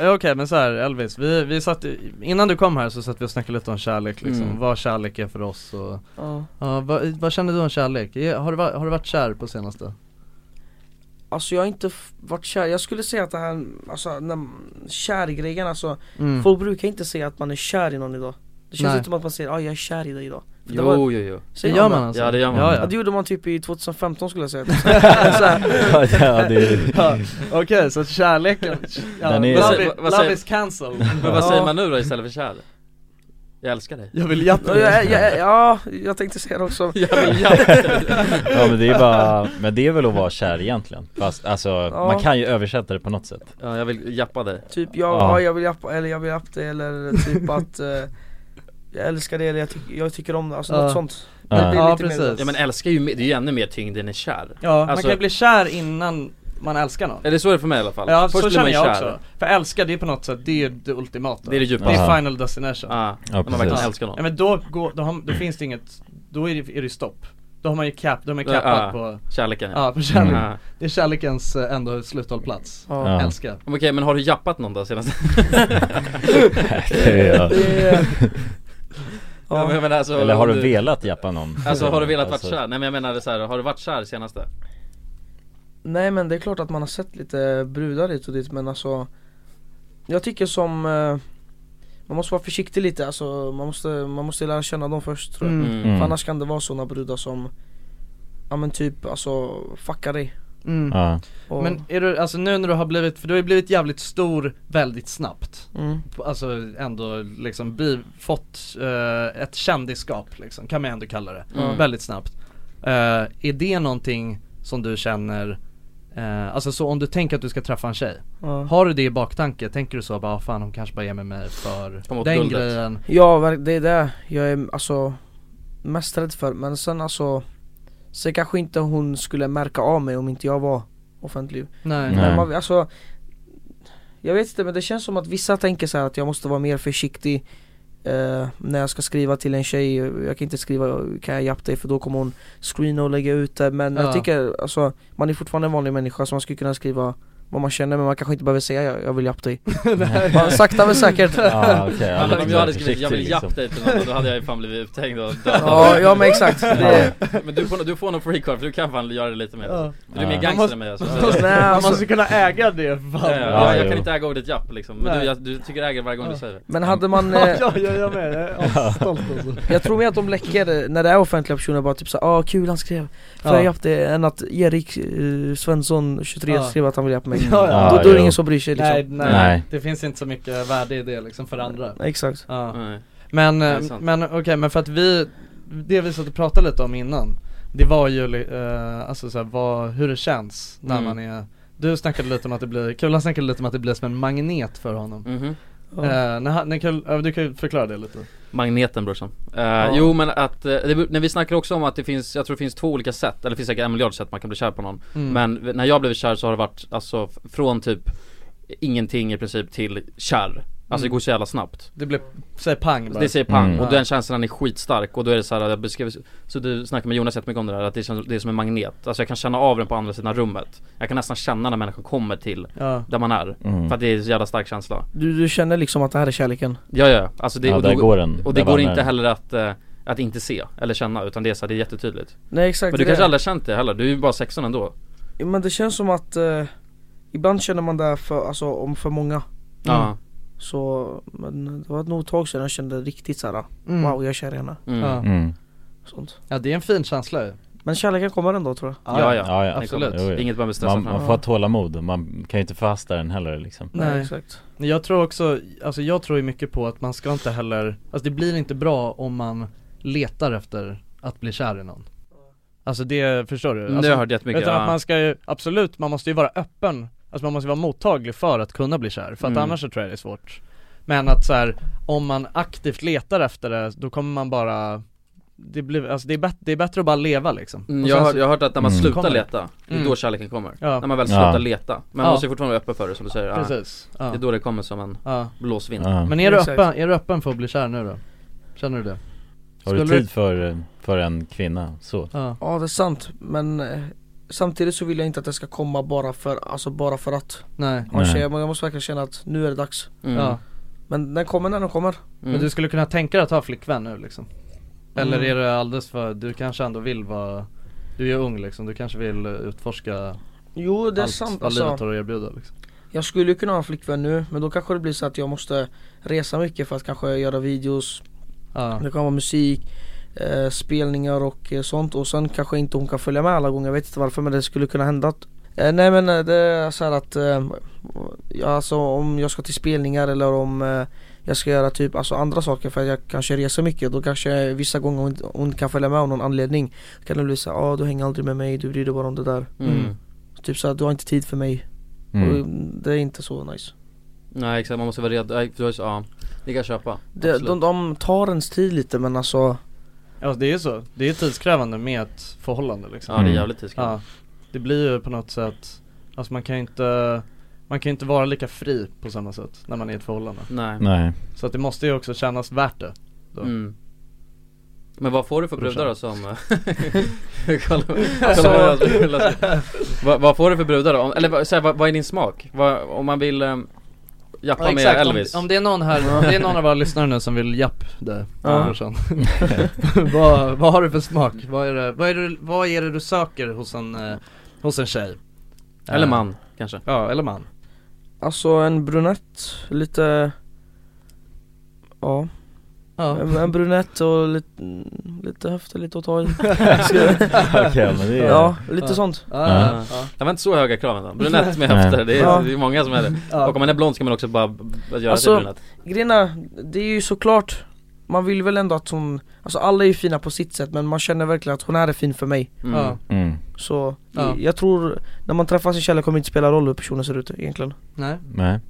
Ja, Okej men så här Elvis, vi, vi satt, innan du kom här så satt vi och snackade lite om kärlek liksom, Mm. vad kärlek är för oss och Ja. Ja, vad, vad känner du om kärlek? Är- Har du, va- har du varit kär på senaste? Alltså jag har inte f- varit kär, jag skulle säga att det här, alltså när, kärgrejen alltså Mm. Folk brukar inte säga att man är kär i någon idag Det känns Nej. inte som att man säger ah, jag är kär i dig idag För Jo, det jo, jo. Säger Det gör man alltså. Ja, det gör man. Ja, Ja, ja. det gjorde man typ i 2015 skulle jag säga Så här. Ja, ja, det är- Ja, Okej, så kärleken, ja, Den är- Vad love, säger- is, vad love säger- is cancelled Men vad säger Ja. man nu då istället för kär? Jag älskar dig Jag vill jatta Eh, Ja, jag, jag, ja, jag tänkte säga det också Jag vill Ja men det är bara, men det är väl att vara kär egentligen? Fast alltså, man kan ju översätta det på något sätt Ja jag vill jappa dig Typ jag, Ja. ja. jag vill jappa, eller jag vill jappa det eller typ att eh, Jag älskar det eller jag, tyck- jag tycker om det, alltså något sånt Det blir ja lite mer- Ja men alltså- älskar ju, mer- det är ju ännu mer tyngd än är kär Ja, man kan ju bli kär innan man älskar någon Eller så är det för mig i alla fall Ja, Först så blir känner man jag kär. också. För älska, det är på något sätt, det är det ultimata Det är det djupa. Det är Aha. final destination Ja, Ja, när man precis. verkligen älskar någon. Ja men då, går, då, har, då finns det inget, då är det, är det stopp Då har man ju cap, då har man Ja, cappat ja. på Kärleken, ja. Ja, på kärleken Mm. Det är kärlekens eh, ändå sluthållplats, Ja. älska Okej men har du jappat någon då senast? Det är jag. ja. men jag menar alltså, Eller har om du velat jappa någon? Alltså har du velat Alltså- varit kär? Nej men jag menar så här, har du varit kär senaste? Nej men det är klart att man har sett lite eh, brudar hit och dit men alltså Jag tycker som eh, Man måste vara försiktig lite alltså, man måste, man måste lära känna dem först tror jag Mm. Mm. För annars kan det vara sådana brudar som Ja men typ alltså, fuckar dig Mm. Ja. Och- Men är du, alltså nu när du har blivit, för du har ju blivit jävligt stor väldigt snabbt Mm. Alltså ändå liksom bli, fått eh, ett kändisskap liksom, kan man ändå kalla det, Mm. väldigt snabbt Eh, Är det någonting som du känner, eh, alltså så om du tänker att du ska träffa en tjej Ja. Har du det i baktanke? Tänker du så bara, "Ah, fan hon kanske bara ger mig mig för Kom åt den guldet." grejen? Ja verk- det är det jag är alltså mest rädd för men sen alltså Sen kanske inte hon skulle märka av mig om inte jag var offentlig Nej. Men Nej. man, alltså Jag vet inte men det känns som att vissa tänker så här att jag måste vara mer försiktig eh, När jag ska skriva till en tjej, jag kan inte skriva kan jag jappa dig för då kommer hon screena och lägga ut det men Ja. jag tycker alltså Man är fortfarande en vanlig människa så man skulle kunna skriva vad man känner men man kanske inte behöver säga jag, jag vill jappa dig Man, Sakta men säkert liksom, Ja, men liksom." om jag hade skrivit 'jag liksom." vill japp dig' till någon då hade jag ju fan blivit uthängd och dödad Ja, ja, men exakt. Det- Men du får, du får nog free card för du kan fan göra det lite mer Ja. Du är mer Ja. gangster Man måste- än mig man måste- Nej, man alltså- måste kunna äga det, fan. Ja, ja, Ja, jag, jag jo. kan inte äga ordet japp liksom, men du, Nej. jag, du tycker jag äger det varje gång du säger det Men hade man... Ja, eh, Mm. ja, jag är med, jag är asstolt alltså. Jag tror mer att de läcker eh, när det är offentliga personer bara typ såhär ah kul han skrev För Ja. jag hjälpte det än att Erik eh, Svensson 23 Ja. skrev att han vill hjälpa mig Ja, Då, ja. då är det jo. ingen som bryr sig liksom nej, nej, Nej. det finns inte så mycket värde i det liksom för andra Exakt ja. Nej. Men, Det eh, är sant. men okej, men för att vi, det vi satt och pratade lite om innan Det var ju li- eh, alltså så här, vad, hur det känns när Mm. man är Du snackade lite om att det blir, Kulan snackade lite om att det blir som en magnet för honom Mhm. Eh, när han, när Kul, ja, du kan ju förklara det lite Magneten brorsan. Eh, Jo men att, eh, det, när vi snackar också om att det finns, jag tror det finns två olika sätt, eller det finns säkert en miljard sätt man kan bli kär på någon Mm. Men v- när jag blev kär så har det varit, alltså f- från typ ingenting i princip till kär Alltså det går så jävla snabbt Det blir, säger pang bara Det säger pang, Mm. och den känslan är skitstark och då är det så här, jag beskrev, så du snackade med Jonas jättemycket om det där, att det, känns, det är som en magnet Alltså jag kan känna av den på andra sidan rummet Jag kan nästan känna när människan kommer till Ja. där man är, Mm. för att det är så jävla stark känsla Du, du känner liksom att det här är kärleken? Ja ja, alltså det, Ja, och, där då, går den. och det Där går vann inte den. heller att, eh, att inte se eller känna utan det är så här, det är jättetydligt Nej, exakt, Men det du är kanske det. aldrig har känt det heller, du är ju bara 16 ändå Ja, Men det känns som att eh, ibland känner man det för, alltså, om för många Ja. Så, men det var nog ett tag sedan jag kände riktigt såhär, Mm. wow jag är kär i henne Mm. Ja. Mm. Sånt. Ja det är en fin känsla ju Men kärleken kommer ändå tror jag absolut Jo, jo. Inget man blir stressad man, man framför. får ha tålamod, och man kan ju inte förhasta den heller liksom Nej. Men Jag tror också, alltså jag tror ju mycket på att man ska inte heller, alltså det blir inte bra om man letar efter att bli kär i någon Alltså det, förstår du? Mm, det Alltså, har jag hört jättemycket, Utan ja. att man ska ju, absolut, man måste ju vara öppen Alltså man måste vara mottaglig för att kunna bli kär, för att Mm. annars så tror jag det är svårt Men att så här, om man aktivt letar efter det, då kommer man bara det, blir, alltså det, är bättre, det är bättre att bara leva liksom Mm, Och jag, sen har, så- jag har hört att när man Mm. slutar kommer det. leta, det är Mm. då kärleken kommer. Ja. När man väl Ja. slutar leta. Men man Ja. måste ju fortfarande vara öppen för det som du säger. Ja. Precis. Ja. Det är då det kommer som en Ja. blåsvind. Men är du, Exakt. öppen, är du öppen för att bli kär nu då? Känner du det? Har du Skulle tid för, för en kvinna så? Ja. Ja det är sant men eh, Samtidigt så vill jag inte att det ska komma bara för, alltså bara för att Nej. Ha en Nej. tjej, men jag måste verkligen känna att nu är det dags Mm. Ja. Men den kommer när den kommer Men du skulle kunna tänka dig att ha flickvän nu liksom? Eller Mm. är det alldeles för, du kanske ändå vill vara, du är ung liksom, du kanske vill eh, utforska Jo det är allt, sant vad livet alltså. har att erbjuda liksom Jag skulle ju kunna ha en flickvän nu men då kanske det blir så att jag måste resa mycket för att kanske göra videos Det kan vara musik, eh, spelningar och eh, sånt och sen kanske inte hon kan följa med alla gånger, jag vet inte varför men det skulle kunna hända att, eh, Nej men eh, det är så här att eh, ja, Alltså om jag ska till spelningar eller om eh, jag ska göra typ alltså andra saker för att jag kanske reser mycket då kanske vissa gånger hon, inte- hon inte kan följa med av någon anledning Då kan det bli såhär, ah, du hänger aldrig med mig, du bryr dig bara om det där Mm. Typ såhär, du har inte tid för mig Mm. och Det är inte så nice Nej exakt, man måste vara redo. Nej, för då är det så- Ja, det kan jag köpa. de, de, de tar ens tid lite men alltså Ja det är ju så, det är tidskrävande med ett förhållande liksom Mm. Ja, det är jävligt tidskrävande. ja. Det blir ju på något sätt, alltså man kan ju inte man kan ju inte vara lika fri på samma sätt när man är i ett förhållande Nej. Nej. Så att det måste ju också kännas värt det då. Mm. Men vad får du för brudar då som... kolla, Alltså- kolla, kolla, vad, vad får du för brudar då? Om- Eller vad- så här, vad, vad är din smak? Vad, om man vill um, jappa Ja, med exakt. Om- Elvis? Om, det är någon här, om det är någon av våra lyssnare nu som vill japp dig Ja. brorsan vad, vad har du för smak? Vad är det, vad är det, vad är det du söker hos en, eh, hos en tjej? Eller Eh, man, kanske. Ja, eller man Alltså en brunett, lite Ja, Ja. En, en brunett och lite, mm, lite höfter, lite att ta i Okej, men det är- Ja, lite sånt Ja. Det var inte så höga krav ändå. Brunett med Nej. höfter, det är, Ja. det är många som är det. Ja. Och om man är blond ska man också bara b- göra sig Alltså, brunett. grejen är, det är ju såklart Man vill väl ändå att hon, alltså alla är ju fina på sitt sätt men man känner verkligen att hon här är fin för mig Mm. Ja. Mm. Så, Ja. jag tror, när man träffar sin kärlek kommer det inte spela roll hur personen ser ut egentligen Nej Nej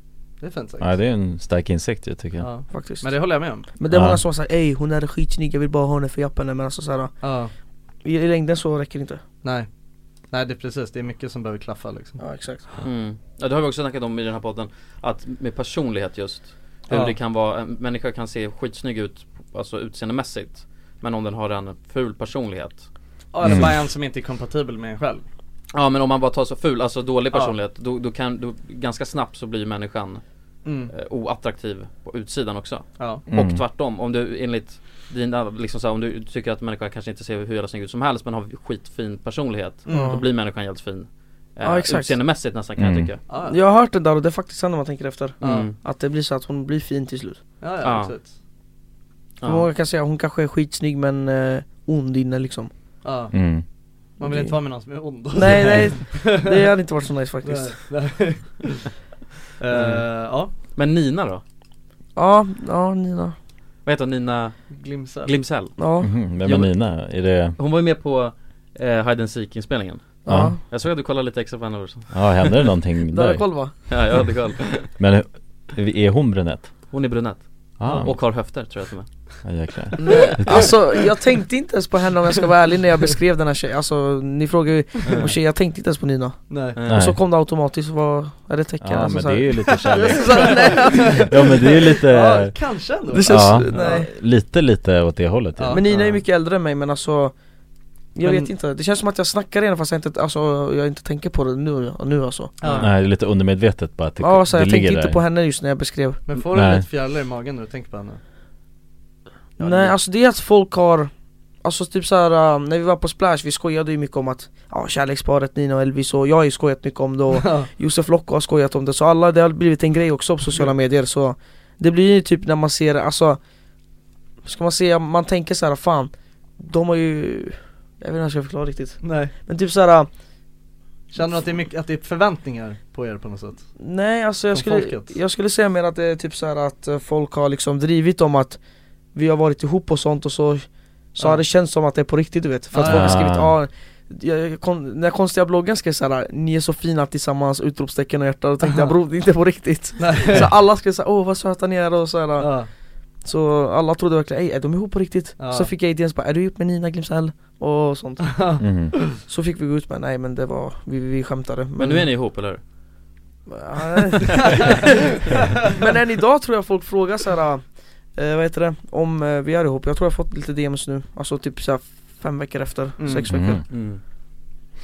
Det är fint sagt Ja det är en stark insikt ju tycker jag Ja. Faktiskt. Men det håller jag med om Men det är Ja. många som har sagt ey hon är skitsnygg, jag vill bara ha henne för jappen men alltså såhär ja. i, I längden så räcker det inte Nej Nej det är precis, det är mycket som behöver klaffa liksom Ja exakt Mm. Ja det har vi också snackat om i den här podden Att med personlighet just Hur Ja. det kan vara, en människa kan se skitsnygg ut Alltså utseendemässigt Men om den har en ful personlighet Ja eller Mm. bara en som inte är kompatibel med en själv Ja men om man bara tar så ful, alltså dålig Ja. personlighet då, då kan, då, ganska snabbt så blir människan Mm. eh, oattraktiv på utsidan också Ja. Och Mm. tvärtom, om du enligt dina, liksom så här, om du tycker att människan kanske inte ser hur jävla snygg ut som helst men har skitfin personlighet Mm. Då blir människan jävligt fin eh, Ja, exakt. Utseendemässigt nästan kan jag tycka Jag har hört det där och det är faktiskt sant när man tänker efter Mm. Att det blir så att hon blir fin till slut Ja, Ja. ja, precis För Många kan säga hon kanske är skitsnygg men eh, ond inne liksom Ja. Mm. Man vill inte vara med någon som är ond Nej nej, det hade inte varit så nice faktiskt Nej, nej. Eh, ja. Men Nina då? Ja, ja Nina Vad heter hon? Nina Glimsell. Glimsell? Ja. Mhm, vem är Jo, men- Nina? Är det, Hon var ju med på eh, Hide and Seek inspelningen Ja. Jag såg att du kollade lite extra på henne också ja hände det någonting där? Ja jag hade koll Men är hon brunett? Hon är brunett Ah. Och har höfter tror jag till och med Ja, jäklar. Nej, alltså jag tänkte inte ens på henne om jag ska vara ärlig när jag beskrev den här tjejen, alltså ni frågar ju om tjejer, jag tänkte inte ens på Nina Nej. Och så kom det automatiskt, vad är det tecken? Ja, alltså, men så här- det är ju lite kärlek. Så här, nej. Ja men det är ju lite Ja, kanske ändå det Det känns, känns- ja, nej. Lite lite åt det hållet ja. Men Nina är mycket äldre än mig men alltså jag Men- vet inte, det känns som att jag snackar igen fast jag inte, alltså, jag inte tänker på det nu, nu alltså Nej det är lite undermedvetet bara att det, Ja, så det jag tänkte ligger inte där på henne just när jag beskrev Men får du Nej. lite fjärilar i magen när du tänker på henne? Nej alltså det är att folk har Alltså typ såhär, um, när vi var på Splash vi skojade ju mycket om att Ja kärleksparet Nina och Elvis och jag har ju skojat mycket om det och Ja. Josef Locke har skojat om det så alla, det har blivit en grej också på sociala medier så Det blir ju typ när man ser, alltså Ska man säga, man tänker så här, fan De har ju Jag vet inte hur jag ska förklara riktigt Nej Men typ såhär Känner du att det är, mycket, att det är förväntningar på er på något sätt? Nej alltså jag Från skulle, folket. jag skulle säga mer att det är typ så här att eh, folk har liksom drivit om att Vi har varit ihop och sånt och så Så Ja. har det känts som att det är på riktigt du vet För att Ah. folk har skrivit ah, jag, kon, när konstiga bloggen skrev såhär 'Ni är så fina tillsammans!' utropstecken och hjärta, då tänkte jag Aha. bror det är inte på riktigt Så alla skrev såhär 'Åh vad söta ni är' och såhär Så alla trodde verkligen 'Ey är de ihop på riktigt?' Ja. Så fick jag idén så bara 'Är du ihop med Nina Glimsell?' och sånt Mhm. Så fick vi gå ut med 'Nej men det var, vi, vi skämtade' Men nu är ni ihop eller hur? Men än idag tror jag folk frågar såhär, eh, vad heter det, om eh, vi är ihop Jag tror jag har fått lite DMs nu, alltså typ såhär fem veckor efter, Mm. sex Mm. veckor Mm.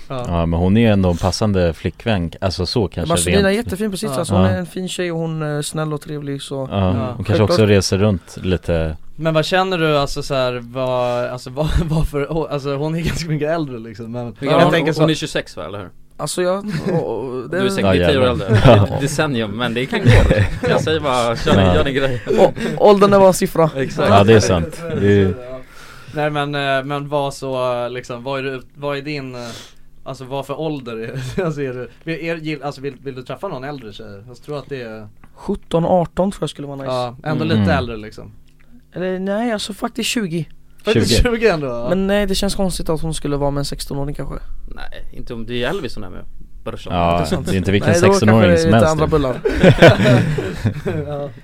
Ja men hon är ändå en passande flickvän, alltså så Men kanske alltså Nina är jättefin på sitt sätt, alltså, hon Ja. är en fin tjej och hon är snäll och trevlig så Ja, hon kanske Självklart. också reser runt lite Men vad känner du alltså så här, vad, alltså vad, vad för, oh, alltså hon är ganska mycket äldre liksom men Hur gammal- hon, hon är 26 va, eller hur? Alltså jag, och, och, Du är säkert Ja, 10 år jävlar. äldre, det är ett decennium men det kan gå Jag säger bara, kör din, gör din grej Och, åldern är bara en siffra Exakt. Ja det är sant, det är, ju- Nej men, eh, men vad så eh, liksom, vad är, du, vad är din, eh, alltså vad för ålder är, alltså, är du, vill, är, gill- alltså, vill, vill du träffa någon äldre tjej? Jag tror att det är, 17-18 tror jag skulle vara nice ja ändå Mm. lite äldre liksom Eller nej alltså faktiskt 20 Faktiskt 20. 20 ändå, ja. Men nej det känns konstigt att hon skulle vara med en 16-åring kanske Nej, inte om, det är ju Elvis som är med brorsan Ja, det är inte vilken Nej, då kanske 16-åring som det är helst typ. lite andra nu. bullar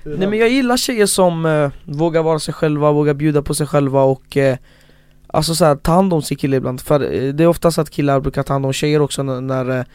Nej men jag gillar tjejer som eh, vågar vara sig själva, vågar bjuda på sig själva och eh, Alltså såhär, ta hand om sin kille ibland För eh, det är oftast att killar brukar ta hand om tjejer också när, när eh,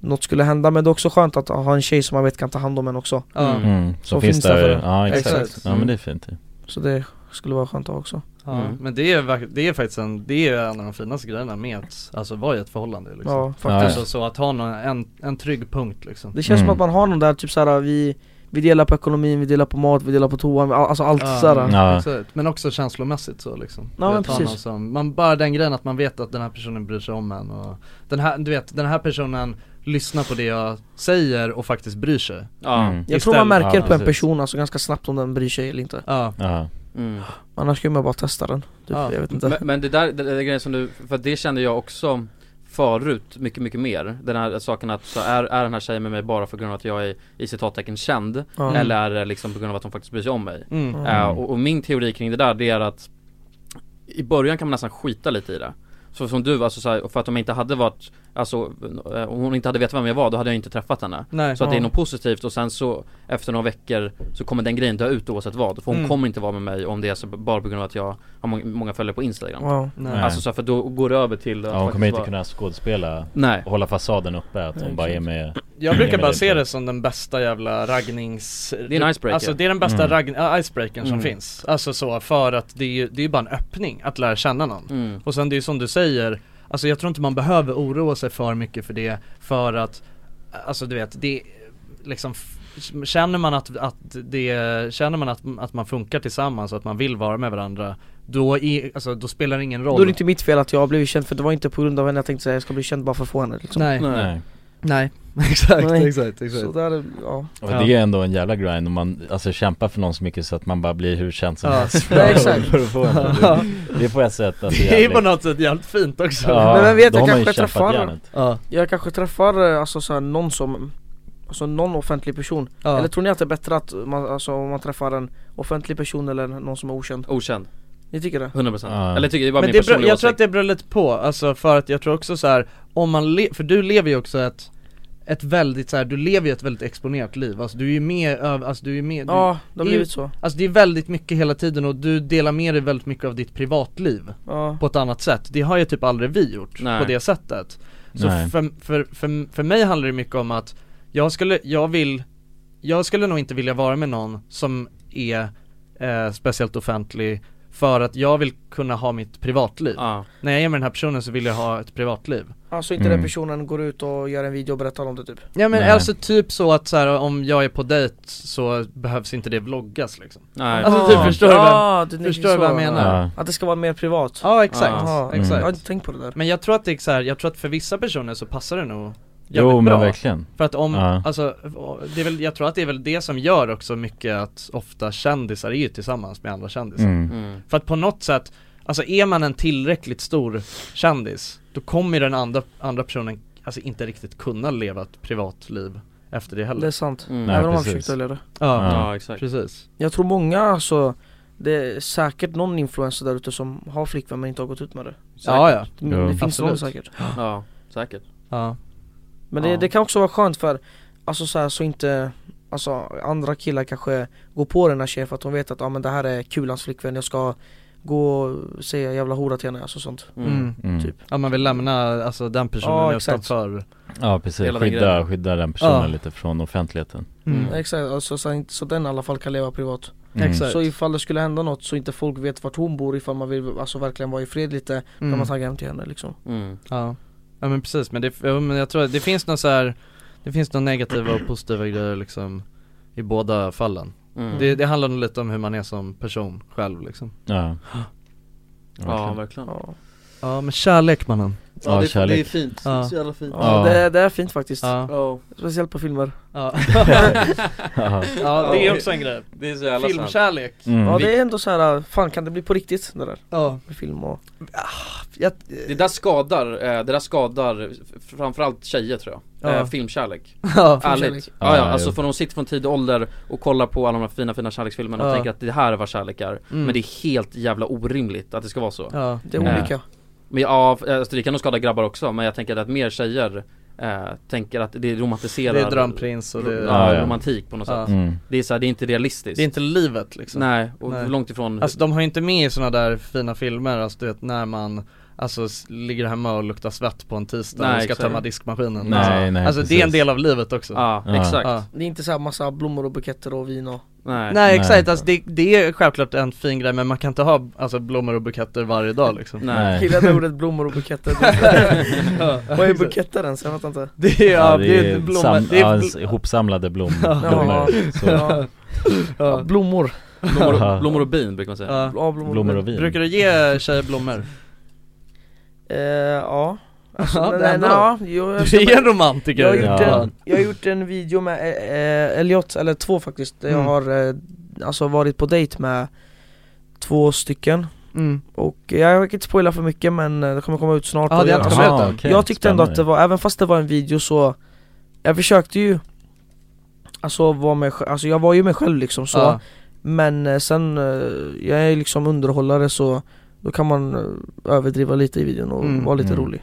något skulle hända Men det är också skönt att ha en tjej som man vet kan ta hand om en också Mm. Mm, som finns där. för en. Ja, exakt. Ja, men det är fint, ja. Så det skulle vara skönt att ha också Ja, men det är, verk- det är faktiskt en, det är en av de finaste grejerna med att, alltså vara i ett förhållande liksom. Ja, faktiskt. Så, så att ha någon, en, en trygg punkt liksom Det känns som att man har någon där typ såhär, vi, vi delar på ekonomin, vi delar på mat, vi delar på toan, all- alltså allt Ja, såhär ja. exakt. Men också känslomässigt så liksom Ja, men Att ha någon precis. som, man, Bara den grejen att man vet att den här personen bryr sig om en och den här, du vet, den här personen lyssnar på det jag säger och faktiskt bryr sig Ja. Mm. Jag tror man Istället- märker på en precis. person alltså ganska snabbt om den bryr sig eller inte Ja. Ja. Mm. Annars kan man bara testa den, typ, Ja, jag vet inte Men, men det där, det, det grejen som du, för det kände jag också förut mycket, mycket mer. Den här saken att så är, är den här tjejen med mig bara för grund av att jag är i citattecken känd? Ja. Eller är det liksom på grund av att hon faktiskt bryr sig om mig? Mm. Mm. Eh, och, och min teori kring det där, det är att i början kan man nästan skita lite i det. Så som du, alltså så här, för att om jag inte hade varit, alltså eh, om hon inte hade vetat vem jag var då hade jag inte träffat henne. Nej. Så att det är Ja. något positivt och sen så efter några veckor så kommer den grejen dö ut oavsett vad. För hon Mm. kommer inte vara med mig om det är så bara på grund av att jag har må- många följare på Instagram. Ja. Nej. Alltså så här, för då går det över till att ja, hon kommer faktiskt inte vara- kunna skådespela Nej. och hålla fasaden uppe att hon Nej, bara är exakt. med Jag är brukar med bara dig. se det som den bästa jävla raggnings... Mm. Det är en icebreaker. Alltså det är den bästa Mm. ragg... äh, icebreakern som Mm. finns Alltså så, för att det är ju, det är ju bara en öppning att lära känna någon Mm. Och sen det är ju som du säger Alltså jag tror inte man behöver oroa sig för mycket för det För att Alltså du vet, det liksom f- Känner man att, att det, känner man att, att man funkar tillsammans och att man vill vara med varandra Då, är, alltså, då spelar det ingen roll Då är det inte mitt fel att jag har blivit känd för det var inte på grund av henne jag tänkte säga jag ska bli känd bara för att få henne liksom. Nej. Nej. Nej. Exakt, exakt, exakt. Så där, är- ja. Och det är ändå en jävla grind om man alltså, kämpar för någon så mycket så att man bara blir hur känd som Ja. helst Ja, exakt. för att få en. Ja. Det är på ett sätt alltså, Det är jävligt. på något sätt jävligt fint också Ja, Men vem vet, då jag har man ju kanske kämpat träffar järnet. Jag kanske träffar eh, alltså, så här, någon som Alltså någon offentlig person Ja. Eller tror ni att det är bättre att man, alltså, om man träffar en offentlig person eller någon som är okänd? Okänd Ni tycker det? 100% Eller tycker det är bara Men det min beror, personliga jag tror att det beror lite på, alltså för att jag tror också så här om man le- för du lever ju också ett ett väldigt så här, du lever ju ett väldigt exponerat liv, alltså du är ju med, över- alltså du är ju med du, Ja, det har är ju- blivit så. Alltså det är väldigt mycket hela tiden och du delar med dig väldigt mycket av ditt privatliv Ja. på ett annat sätt Det har ju typ aldrig vi gjort Nej. på det sättet Så Nej. för, för, för, för mig handlar det mycket om att jag skulle, jag vill, jag skulle nog inte vilja vara med någon som är eh, speciellt offentlig för att jag vill kunna ha mitt privatliv När jag är med den här personen så vill jag ha ett privatliv Alltså inte den personen går ut och gör en video och berättar om det typ Ja men alltså typ så att så här, om jag är på dejt så behövs inte det vloggas liksom Nej. Alltså typ Ah. förstår du Ah, vad, du tänker förstår du vad jag så. menar? Ja. Att det ska vara mer privat Ja exakt, Ah. Mm. exakt Jag har inte tänkt på det där. Men jag tror att det är så här, jag tror att för vissa personer så passar det nog Jo, jävligt men bra. verkligen. För att om, Ja. alltså, det är väl, jag tror att det är väl det som gör också mycket att ofta kändisar är ju tillsammans med andra kändisar Mm. Mm. För att på något sätt, alltså är man en tillräckligt stor kändis Då kommer den andra, andra personen alltså inte riktigt kunna leva ett privatliv efter det heller Det är sant, Mm. även Nej, om man precis. försökt dölja det Ja. Ja, exakt. Precis. Jag tror många alltså Det är säkert någon influencer där ute som har flickvän men inte har gått ut med det Ja, Säkert. ja. Det Jo. finns Absolut. någon säkert Ja, säkert Ja Men det, Ja. det kan också vara skönt för Alltså så, här, så inte Alltså andra killar kanske går på den här tjejen för att de vet att ah, men det här är kulans flickvän Jag ska gå och säga jävla hora till henne, alltså sånt Mm. Typ. Ja man vill lämna alltså den personen Ja, exakt. utanför Ja precis, Hela den skydda, grejen. skydda den personen Ja. lite från offentligheten Mm. Exakt, alltså, så, inte- så den i alla fall kan leva privat Mm. Exakt. Så ifall det skulle hända något så inte folk vet vart hon bor ifall man vill alltså, verkligen vara i fred lite Mm. Kan man tagga hem till henne liksom Ja, ja men precis, men, det, ja, men jag tror att det finns någon så här Det finns några negativa och positiva grejer liksom I båda fallen Mm. det, det handlar nog lite om hur man är som person själv liksom Ja. Ja verkligen Ja men kärlek mannen Ja, Ja, det är- kärlek. det är fint. ja. Så jävla fint. Ja, Det, är- det är fint faktiskt Ja. Speciellt på filmer Ja. Ja. Ja, det är också en grej. Det är så jävla sant. Filmkärlek Mm. Ja det är ändå så här, fan kan det bli på riktigt det där? Ja Med film och Det där skadar, eh, det där skadar f- framförallt tjejer tror jag Ja. eh, Filmkärlek Ja, Ärligt filmkärlek. ja, ja, Ja, alltså jo. för de sitter från tidig ålder och kollar på alla de här fina fina kärleksfilmerna och Ja. tänker att det här är vad kärlek är Mm. Men det är helt jävla orimligt att det ska vara så Ja. Det är Eh, olika. Men ja, f- alltså, det kan nog skada grabbar också men jag tänker att mer tjejer eh, tänker att det romantiserar Det är drömprins och det- ja, Ja, ja. romantik på något Ja. sätt Mm. Det är så här, det är inte realistiskt Det är inte livet liksom Nej, och långt ifrån Alltså de har ju inte med i sådana där fina filmer, alltså du vet när man Alltså s- ligger hemma och luktar svett på en tisdag Nej, och ska exakt. tömma diskmaskinen Nej, alltså, nej, alltså det är en precis. del av livet också Ja, Ja. exakt. Det är inte så här massa blommor och buketter och vin och Nej, Nej exakt, alltså det, det är självklart en fin grej men man kan inte ha alltså, blommor och buketter varje dag liksom Nej. Killar det ordet blommor och buketter Vad är buketter ens? Jag vet inte Det är, ja, det är blommor, sam- det är ja, bl- s- ihopsamlade blom, Ja. blommor så. Ja. Ja, Blommor Blommor och, blommor och bin brukar man säga Ja. Ja, blommor och Blommor och bin. Brukar du ge tjejer blommor? Eh, ja Alltså, Ja, nej, det nej, ändå. ja, jo, jag Du ska- är en romantiker. Jag har gjort, Ja. en, jag har gjort en video med eh, eh, Elliot, eller två faktiskt, där Mm. jag har eh, alltså varit på dejt med två stycken Mm. Och jag kan inte spoila för mycket men eh, det kommer komma ut snart Ja, och det har jag, inte kommit ut än. okej. jag tyckte ändå att det Spännande. var, även fast det var en video så Jag försökte ju Alltså vara mig själv, alltså jag var ju mig själv liksom så Ja. Men eh, sen, eh, jag är liksom underhållare så Då kan man eh, överdriva lite i videon och Mm. vara lite Mm. rolig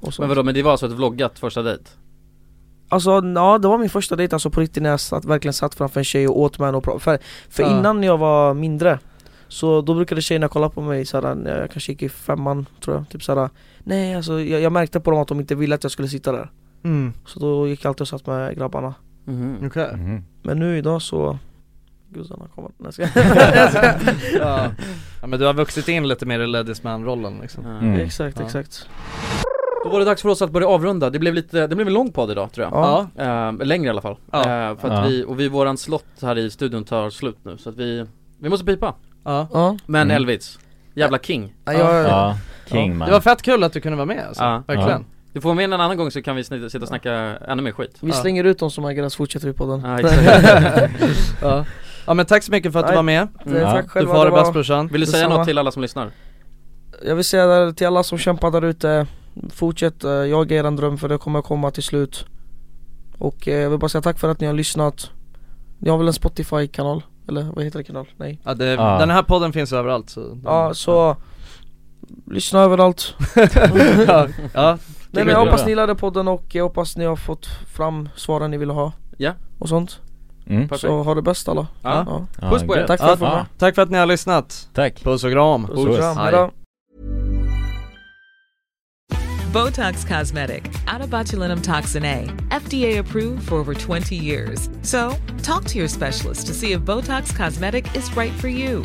och sånt. Men vadå, men det var alltså ett vloggat första dejt? Alltså ja, det var min första dejt alltså på riktigt när jag satt, verkligen satt framför en tjej och åt med henne och pratade För, för Ja. innan jag var mindre Så då brukade tjejerna kolla på mig såhär, när jag kanske gick i femman tror jag, typ såhär Nej alltså jag, jag märkte på dem att de inte ville att jag skulle sitta där Mm. Så då gick jag alltid och satt med grabbarna Okej Men nu idag så, gudarna kommer, nej jag skojar. ja. ja men du har vuxit in lite mer i ladies man-rollen liksom Mm. Exakt, exakt. Då var det dags för oss att börja avrunda, det blev lite, det blev en lång podd idag tror jag Ja. Ehm, Längre i alla fall Ja. Ehm, För att Ja. vi, och vi, våran slott här i studion tar slut nu så att vi, vi måste pipa Ja. Ja. Men Mm. Elvis, jävla king Ja, jag- Ja, king, man. Det var fett kul att du kunde vara med alltså, Ja. verkligen Du får vara med en annan gång så kan vi sn- sitta och snacka ännu mer skit Vi slänger ut dem som agerar så fortsätter vi podden Ja, exakt. ja. ja men tack så mycket för att du Nej, var med det- tack Du själva, får ha det det var- bäst brorsan Vill du säga Detsamma. något till alla som lyssnar? Jag vill säga där, till alla som kämpar där ute Fortsätt eh, jaga er dröm för det kommer komma till slut Och eh, jag vill bara säga tack för att ni har lyssnat Ni har väl en Spotify-kanal? Eller vad heter det kanal? Nej ja, det, Den här podden finns överallt så Ja så Lyssna överallt ja, ja, Nej men jag hoppas ni gillade podden och jag hoppas ni har fått fram svaren ni ville ha Ja. Och sånt Mm. Så Perfekt. ha det bäst alla Ja. Ja. Puss på er! Tack för att ni var med ja. Tack för att ni har lyssnat! Tack! Puss och kram! Puss och kram, hejdå Botox Cosmetic, out of botulinum toxin A, FDA approved for over 20 years. So, talk to your specialist to see if Botox Cosmetic is right for you.